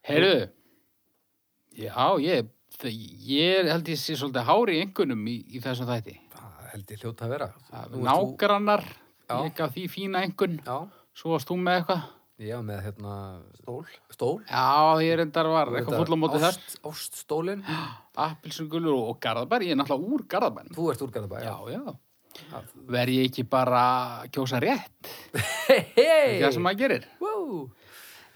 C: Heyrðu, já, ég, ég held ég sé svolítið hári í engunum í, í þessum þætti.
B: Það held ég hljóta að vera.
C: Það-
B: Nú ert
C: Nágrannar,
B: Já.
C: ég gaf því fína engun,
B: Já,
C: svo varst þú með eitthvað.
B: ég var með hérna
A: Stól
B: stól.
C: Já, ég reyndar var
B: Þetta
C: eitthvað fulla mótið þess. Mm.
B: ást, Áststólinn.
C: Appelsungulur og, og Garðabær, ég er náttúrulega úr Garðabær.
B: Þú ert úr Garðabær.
C: Já, já.
B: Já.
C: Verð ég ekki bara að kjósa rétt,
B: Hei!
C: það sem maður gerir.
B: Wow.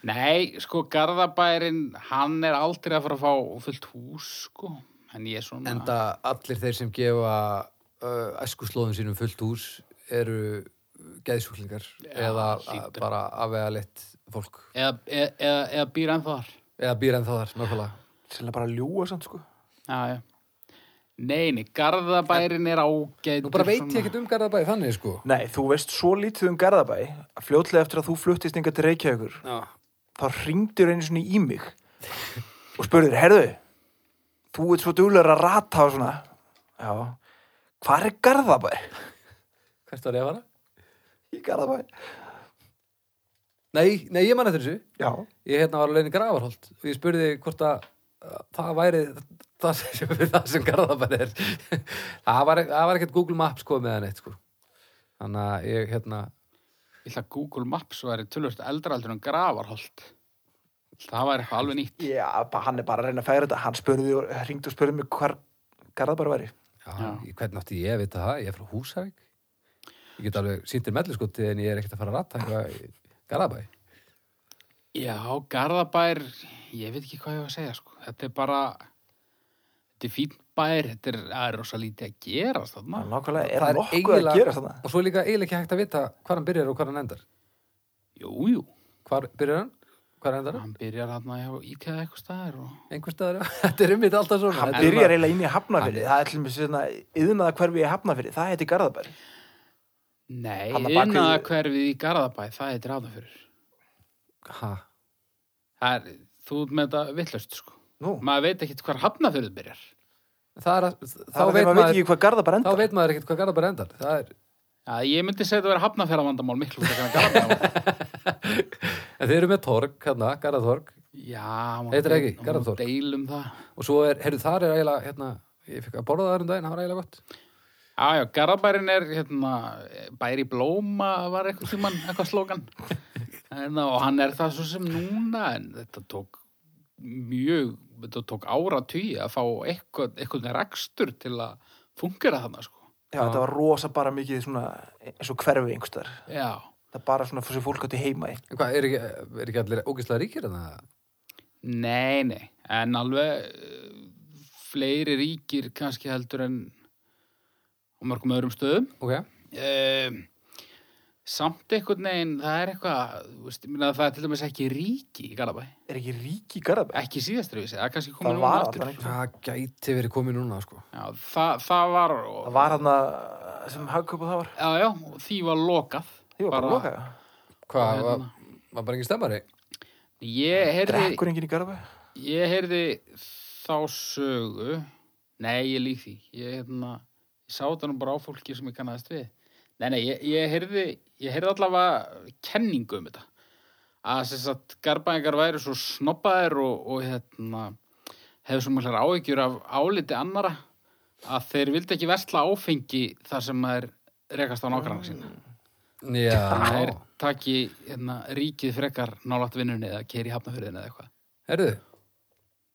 C: Nei, sko, Garðabærin, hann er aldrei að fara að fá fullt hús, sko. En ég er svona...
B: Enda allir þeir sem gefa uh, æskuslóðum sínum fullt hús eru geðsjúklingar eða
C: hlýtur.
B: að- bara afvega leitt fólk
C: Eða, eða, eða, eða býr ennþá þar.
B: eða býr en þá þar, nákvæmlega
A: Sennilega bara að ljúga samt sko
C: Já, já. Nei, nei, Garðabærin er ágætur.
B: Nú bara veit ég ekkert um Garðabæði þannig sko
A: Nei, þú veist svo lítið um Garðabæ að fljótlega eftir að þú fluttist yngar til Reykjavíkur
B: Já,
A: þá ringdur einu svona í mig og spurðir, herðu þú ert svo duglegur að rata og svona já, hvar er Garðabæ?
B: hvert var ég að vara?
A: Í Garðabæ?
B: Nei, nei, ég man eftir þessu
A: Já,
B: Ég hérna var alveg í Grafarholt og ég spurði hvort að að það væri það sem, [LAUGHS] það sem Garðabæði er [LAUGHS] það, var, e-, það var ekkert Google Maps sko meðan eitt sko Þannig að ég hérna
C: Ég ætla að Google Maps væri tölvöld eldra heldur en gravarholt. Það væri eitthvað alveg nýtt.
A: já ba- hann er bara að reyna að færa þetta hann spurði og ringdi og spurði mig hvar Garðabæ væri
B: Já,
C: Já.
B: ég- hvernig átti ég að vita það? Ég er frá Húsavík. Ég get alveg sýndir melliskoti en ég er ekkert að fara að rata eitthvað í Garðabæ.
C: Já, Garðabær, ég veit ekki hvað ég var að segja, sko. Þetta er bara, þetta er fín bær, þetta er, það er rosa lítið að gera,
A: Ná,
C: þarna.
A: nákvæmlega,
B: Það
A: er
B: er
A: nokkuð
B: eiginlega-
A: að gera þarna?
B: Og svo er líka eiginlega ekki hægt að vita hvað hann byrjar og hvað hann endar.
C: Jú, jú,
B: Hvar byrjar hann? Hvar endar hann?
C: hann byrjar þarna hjá íkæða eitthvað staðar og
B: Einhver staðar? [LAUGHS] Þetta er um mitt alltaf svona.
A: Hann
B: Þetta er
A: byrjar
B: svona-
A: eiginlega inn í Hafnafyrði, það er til mér svona yðnaða hverfi í Hafnafyrði, það heiti Garðabær.
C: Nei,
A: Þarna bak við-
C: innaða hverfið í Garðabæ, það er dráða fyrir.
B: Ha,
C: Það er, þú ert með þetta vittlust, sko.
A: Nú,
C: Maður veit ekkit hvar hafnafjörðu byrjar.
B: það er að, þá
A: það er
B: veit
A: þegar maður veit
B: maður,
A: ekki hvað Garðabær
B: þá
A: endar.
B: veit maður ekkert hvað Garðabær endar. Það er,
C: Já, ég myndi segja þetta að vera hafnafjörðavandamál miklu frekar en
B: [LAUGHS]
C: Garðabæ.
B: en þeir eru með torg, hérna, Garðatorg.
C: Já, má
B: Heitir það ekki?
C: deil- má
B: Garðaþór?
C: Deilum það.
B: Og svo er, heyrðu, þar er eiginlega, hérna, ég fikk að borða það um daginn, það var eiginlega gott.
C: Já, já, Garðabærin er, hérna, bæri blóma var eitthvað tímann, eitthvað slókan. En, og hann er það svo sem núna, en þetta tók mjög, þetta tók ára tugi að fá eitthvað, eitthvað rekstur til að fungera þarna, sko.
A: Já, þetta var rosa bara mikið svona eins og hverfi einhverstaðar.
C: Já,
A: Það er bara svona fyrir fólk átti heima í.
B: En Hvað, er ekki, er ekki allir ógislega ríkir hérna? en það?
C: nei, nei, en alveg eh, fleiri ríkir kannski heldur en á mörgum öðrum stöðum.
B: Ok,
C: um, samt einhvern veginn það er eitthvað þú veist, ég meina, það er til dæmis ekki ríki í Garabæ
A: Er ekki ríki í Garðabær?
C: ekki síðastur við það er kannski
A: Það
C: komið núna
A: var
C: aftur
A: allan einhvern
B: það gæti verið komið núna, sko.
C: já, það, það var,
A: Það var hann að sem hagköpa það var.
C: já, já, og því var lokað
A: Því var bara lokað.
B: Hvað,
C: Hérna.
B: var, var bara engin stemmari?
C: ég heyrði,
A: Drekkur enginn í Garðabær?
C: ég heyrði þá sögu nei, ég lík því ég, hérna, ég sá þetta nú bara á fólki sem ég kannaðist við nei, nei, ég, ég heyrði ég heyrði allavega kenningu um þetta að sem sagt garbaðingar væri svo snoppaðir og, og hérna hefur svo mjög áhyggjur af áliti annara að þeir vildi ekki versla áfengi þar sem þeir rekast á nákvæmna sína
B: [LAUGHS]
C: þannig að þeir
B: Já,
C: taki hérna, ríkið frekar nálætt vinnunni eða keiri hafnafyrðin eða eitthvað
B: heyrðu,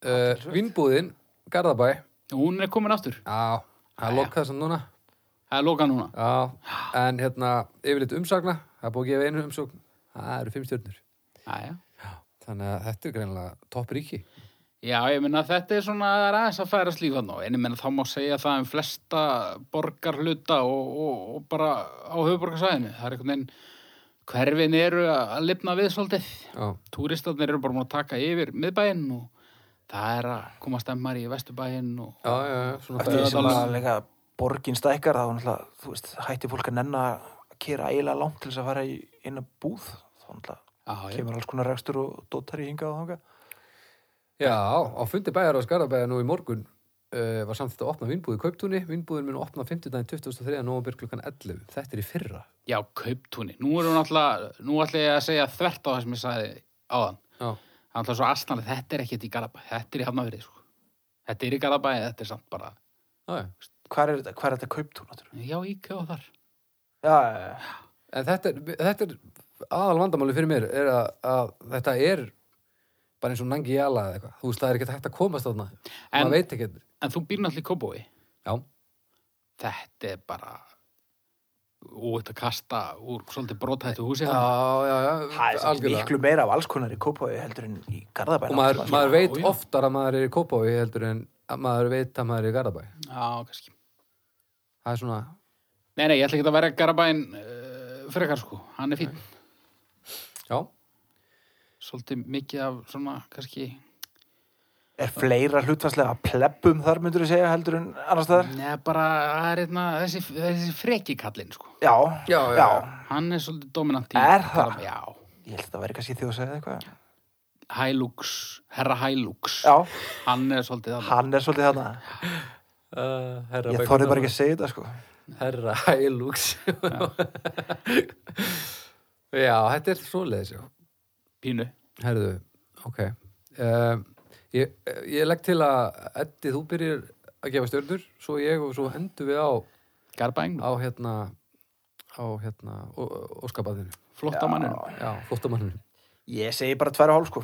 B: uh, vinnbúðin, Garðabæ,
C: hún er komin aftur,
B: Já, það er lokað sem núna
C: það er lokað núna
B: Já, en hérna yfirleitt umsagna, það er búið að gefa einu umsókn það eru fimm stjörnur
C: Æja.
B: þannig að þetta er greinilega topp ríki
C: Já, ég meina þetta er svona það er aðeins að færa slífa nú, en ég meina þá má segja það um flesta borgarhluta og, og, og bara á höfuborgarsæðinu. Það er einhvern veginn, hverfin eru að að lifna við svolítið.
B: Já,
C: Túristarnir eru bara múin að taka yfir miðbæinn og það er að koma stemmar í vesturbæinn og
B: já, já, já svona
A: Eftir
C: Það
A: því
C: er
A: sem
B: um-
C: alveg-
A: að leika borgin stækkar þá náttúrulega, þú veist, hætti fólk að nenna að kera eiginlega langt til þess að fara í eina búð, þá náttúrulega
C: já, já,
A: kemur alls konar rekstur og dótari hingað og þangað.
B: Já, á fundi bæjar á Skarabæja nú í morgun uh, var samþýtt að opna vinnbúði í Kauptúni vinnbúðin mun opna 50 daginn 23. november klukkan 11 Þetta er í fyrra
C: já, kauptúni. Nú erum við alltaf, nú ætla ég að segja þvert á það sem ég sagði áðan.
B: Já,
C: Það er alltaf svo astanlega, þetta er ekkert í Garabæ, þetta er í Hafnafyrði, sko. Þetta er í Garabæ, þetta er samt bara,
B: já, já
A: Hvað er þetta, hvað er þetta kauptún áttur?
C: já, íkja og þar.
A: Já, já, já.
B: En þetta er, þetta er aðal vandamáli fyrir mér er að, að þetta er bara eins og nangi jala eða eitthvað Þú veist, það er ekkert hægt að komast þarna
C: En-
B: maður veit ekki
C: En þú býr náttúrulega í kópói.
B: Já,
C: Þetta er bara út að kasta úr svolítið brotættu húsi.
B: já,
C: þarna.
B: já, já
A: Það er samt
B: algjörlega.
A: miklu meira af alls konar í Kópaví heldur en í Garðabæna.
B: og maður, maður veit
C: já.
B: oftar að maður er í Kópaví heldur en að maður veit að maður er í Garðabæ
C: Já, kannski.
B: það er svona,
C: Nei, nei, ég ætla ekki að vera Garabæn uh, frekar sko. Hann er fín.
B: já,
C: Svolítið mikið af svona, kannski...
A: Er fleira hlutfarslega að plebbum þar, myndur þú segja, heldur en annars staðar?
C: Nei, bara það er einna, þessi, þessi freki kallinn sko.
A: Já,
B: Já, já,
C: Hann er svolítið dominant í...
A: Er það?
C: Garabæ- Já.
A: Ég held að það væri kannski þjóðsæðið eitthvað.
C: Hælux, herra Hælux.
A: Já,
C: Hann er svolítið það.
A: hann er svolítið þarna.
B: uh, herra
A: Ég þorði bara ekki að segja þetta, sko.
B: herra hælúks [LAUGHS] já, þetta er svoleiðis já.
C: Pínu.
B: herðu, ok um, ég, ég legg til að Eddi, þú byrjir að gefa stjörnur svo ég og svo endur við á
C: Garabæn,
B: á hérna á hérna, óskapaðinu
C: flott á manninu.
B: já, flottamanninu,
A: Ég segi bara tværa hálf, sko.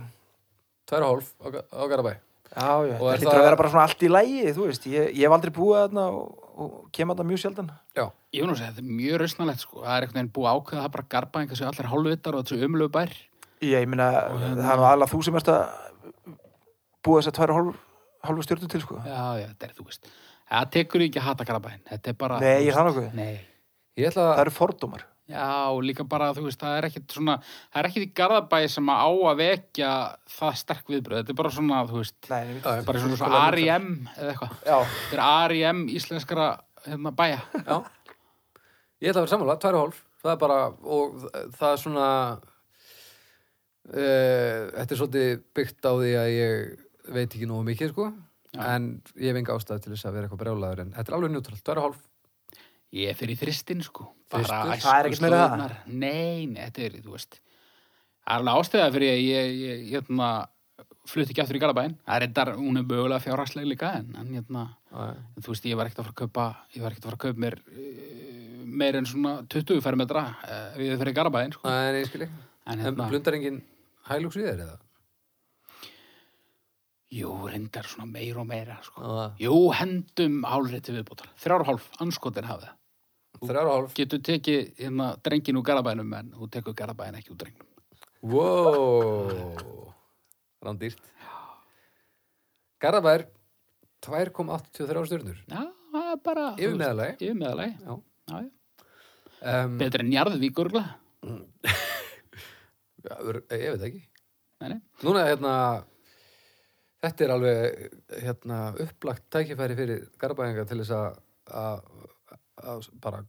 B: tværa hálf á, Ga- á Garðabæ
A: Já, já,
B: Og
A: þetta
B: er
A: hlýtur
B: það-
A: að vera bara svona allt í lægi, þú veist, ég, ég hef aldrei búið þarna og, og kem þarna mjög sjaldan.
B: já,
C: Ég finn að segja, þetta er mjög rausnalegt sko. Það er einhvern veginn búið að ákveða það bara garbaðingar sem allir hálfvitar og þessu umlögu bær.
A: Ég, ég meina, það er nú aðalega þú sem ert að búa þess að tværa hálf, hálfu stjórnum til, sko.
C: Já, já, þetta er þú veist. Það tekur ekki að hata garbaðin. Þetta er bara...
A: Nei, ég er það nokkuð.
C: Nei.
B: ég ætla
A: Það
B: að
A: eru fordómar.
C: Já, og líka bara, þú veist, það er ekkit svona, það er ekkit í Garðabæi sem að á að vekja það sterk viðbröð, þetta er bara svona, þú veist,
A: Nei, ég veit.
B: Já,
C: bara svona
A: Þetta
C: svo
A: er alveg
C: R.I.M. eða eitthvað,
A: Já,
C: þetta er R.I.M. íslenskara, hérna, bæja.
B: Já. Ég ætla að vera sammála, tvær og hálf. Það er bara, og þa- það er svona, uh, þetta er svolítið byggt á því að ég veit ekki nógu mikið, sko. En ég hef enga ástæði til þess að vera eitthvað brjálaður, en þetta er alveg njútralt, tvær og hálf.
C: Ég er fyrir þristin, sko.
B: Þristur?
A: Það er ekkit meira það?
C: æskuslóðnar. Nei, nei, þetta er, þú veist, það er alveg ástæða fyrir að ég, ég, ég, hérna, flutti ekki aftur í Garðabæin. Það er þetta, hún er mögulega fjárhagsleg líka, en, en, hérna, En þú veist, ég var ekkert að fara að kaupa ég var ekkert að fara að kaupa mér uh, meir en svona 20 fermetra uh, við fyrir garabæðin
A: Ah,
C: sko.
B: Nei, nei, ég skil ég.
C: en
B: En
C: hérna,
B: blundar engin hælúks við þér, eða?
C: jú, reyndar svona meir og meira sko.
A: Ah.
B: Já.
C: jú, hendum hálfrétti viðbótar þrjár og hálf, anskotin hafið það
B: Þrjár og hálf.
C: getur tekið hérna, drengin úr garabæðinum en þú tekur garabæðin ekki úr drengnum
B: Wow. Rándýrt. Garðabær, 2,83 stjörnur.
C: já, það er bara
B: Yfir meðalagi.
C: yfir meðalagi.
B: Já.
C: Já, já.
B: Um,
C: betur en jarðvík örgulega
B: e, ég veit ekki.
C: nei, nei.
B: Núna, hérna, þetta er alveg hérna, upplagt tækifæri fyrir garbaðinga til þess að- að að bara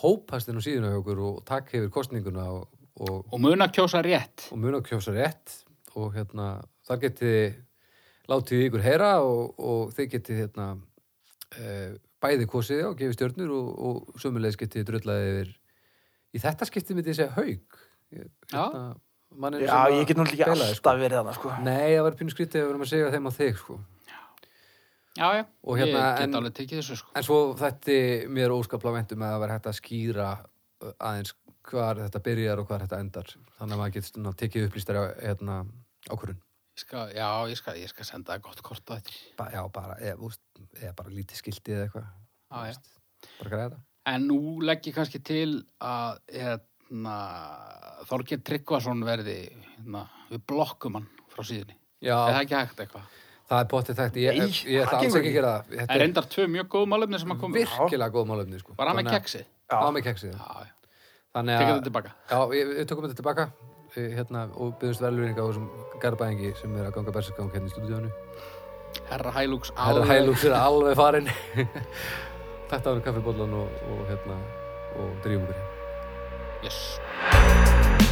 B: hópast inn á síðuna hjá okkur og takk hefur kostninguna og, og,
C: og mun að kjósa rétt
B: og mun að kjósa rétt og hérna, þar getið þið látið í ykkur heyra og, og þið getið hérna, eh, bæði kosið og gefið stjörnur og, og sömulegis getið þið drullaði yfir í þetta skiptið myndi ég segja haug Ég- hérna,
C: Já.
B: manninn
A: Já,
B: sem að
A: ég get nú líka
B: spilaði, sko.
A: alltaf verið þarna, sko.
B: Nei, það var pínu skrítið að við erum að segja þeim á þig, sko.
C: já, já,
B: Og hérna,
C: ég get
B: en-
C: alveg tekið þessu sko.
B: En svo þetta mér óskapla vendum að það vera hægt að skýra uh, aðeins hvar þetta byrjar og hvar þetta endar. Þannig að maður getur ná, tekið upplýstari á, hérna, ákvörun.
C: ég skal, já, ég skal, ég skal senda það gott kort á þetta
B: Ba já, bara, eða, úst, eða bara lítið skildi eða eitthvað.
C: Já, já.
B: Veist, Bara græða þetta.
C: En nú legg ég kannski til að hérna, Þorgeir Tryggvason verði hérna, við blokkum hann frá síðunni. Er það
B: Já,
C: ekki hægt eitthvað?
B: það er potið þetta. Ég,
A: Nei,
B: ég, ég ætla
A: það
B: alls
A: gengur
B: ekki að
A: ekki.
B: gera það.
C: Það er
B: Þetta er
C: endar tvö mjög góð málefni sem að koma.
B: virkilega góð málefni, sko.
C: Var hann með
B: Þannig að-
C: keksið?
B: Já,
A: Já,
B: með keksið.
C: Já, já.
B: Þannig
C: Tekja
B: að...
C: þetta tilbaka.
B: Já, við, við tökum þetta tilbaka eh, hérna, og byggðumst verðluringa á þessum garbaðingi sem er að ganga berserkang hérna í stúdíónu.
C: Herra Hælúks
B: Herra
C: alveg-
B: Hælúks er alveg farinn. [LAUGHS] þetta var kaffibóllan og, og, hérna, og drýjum okkur.
C: Yes.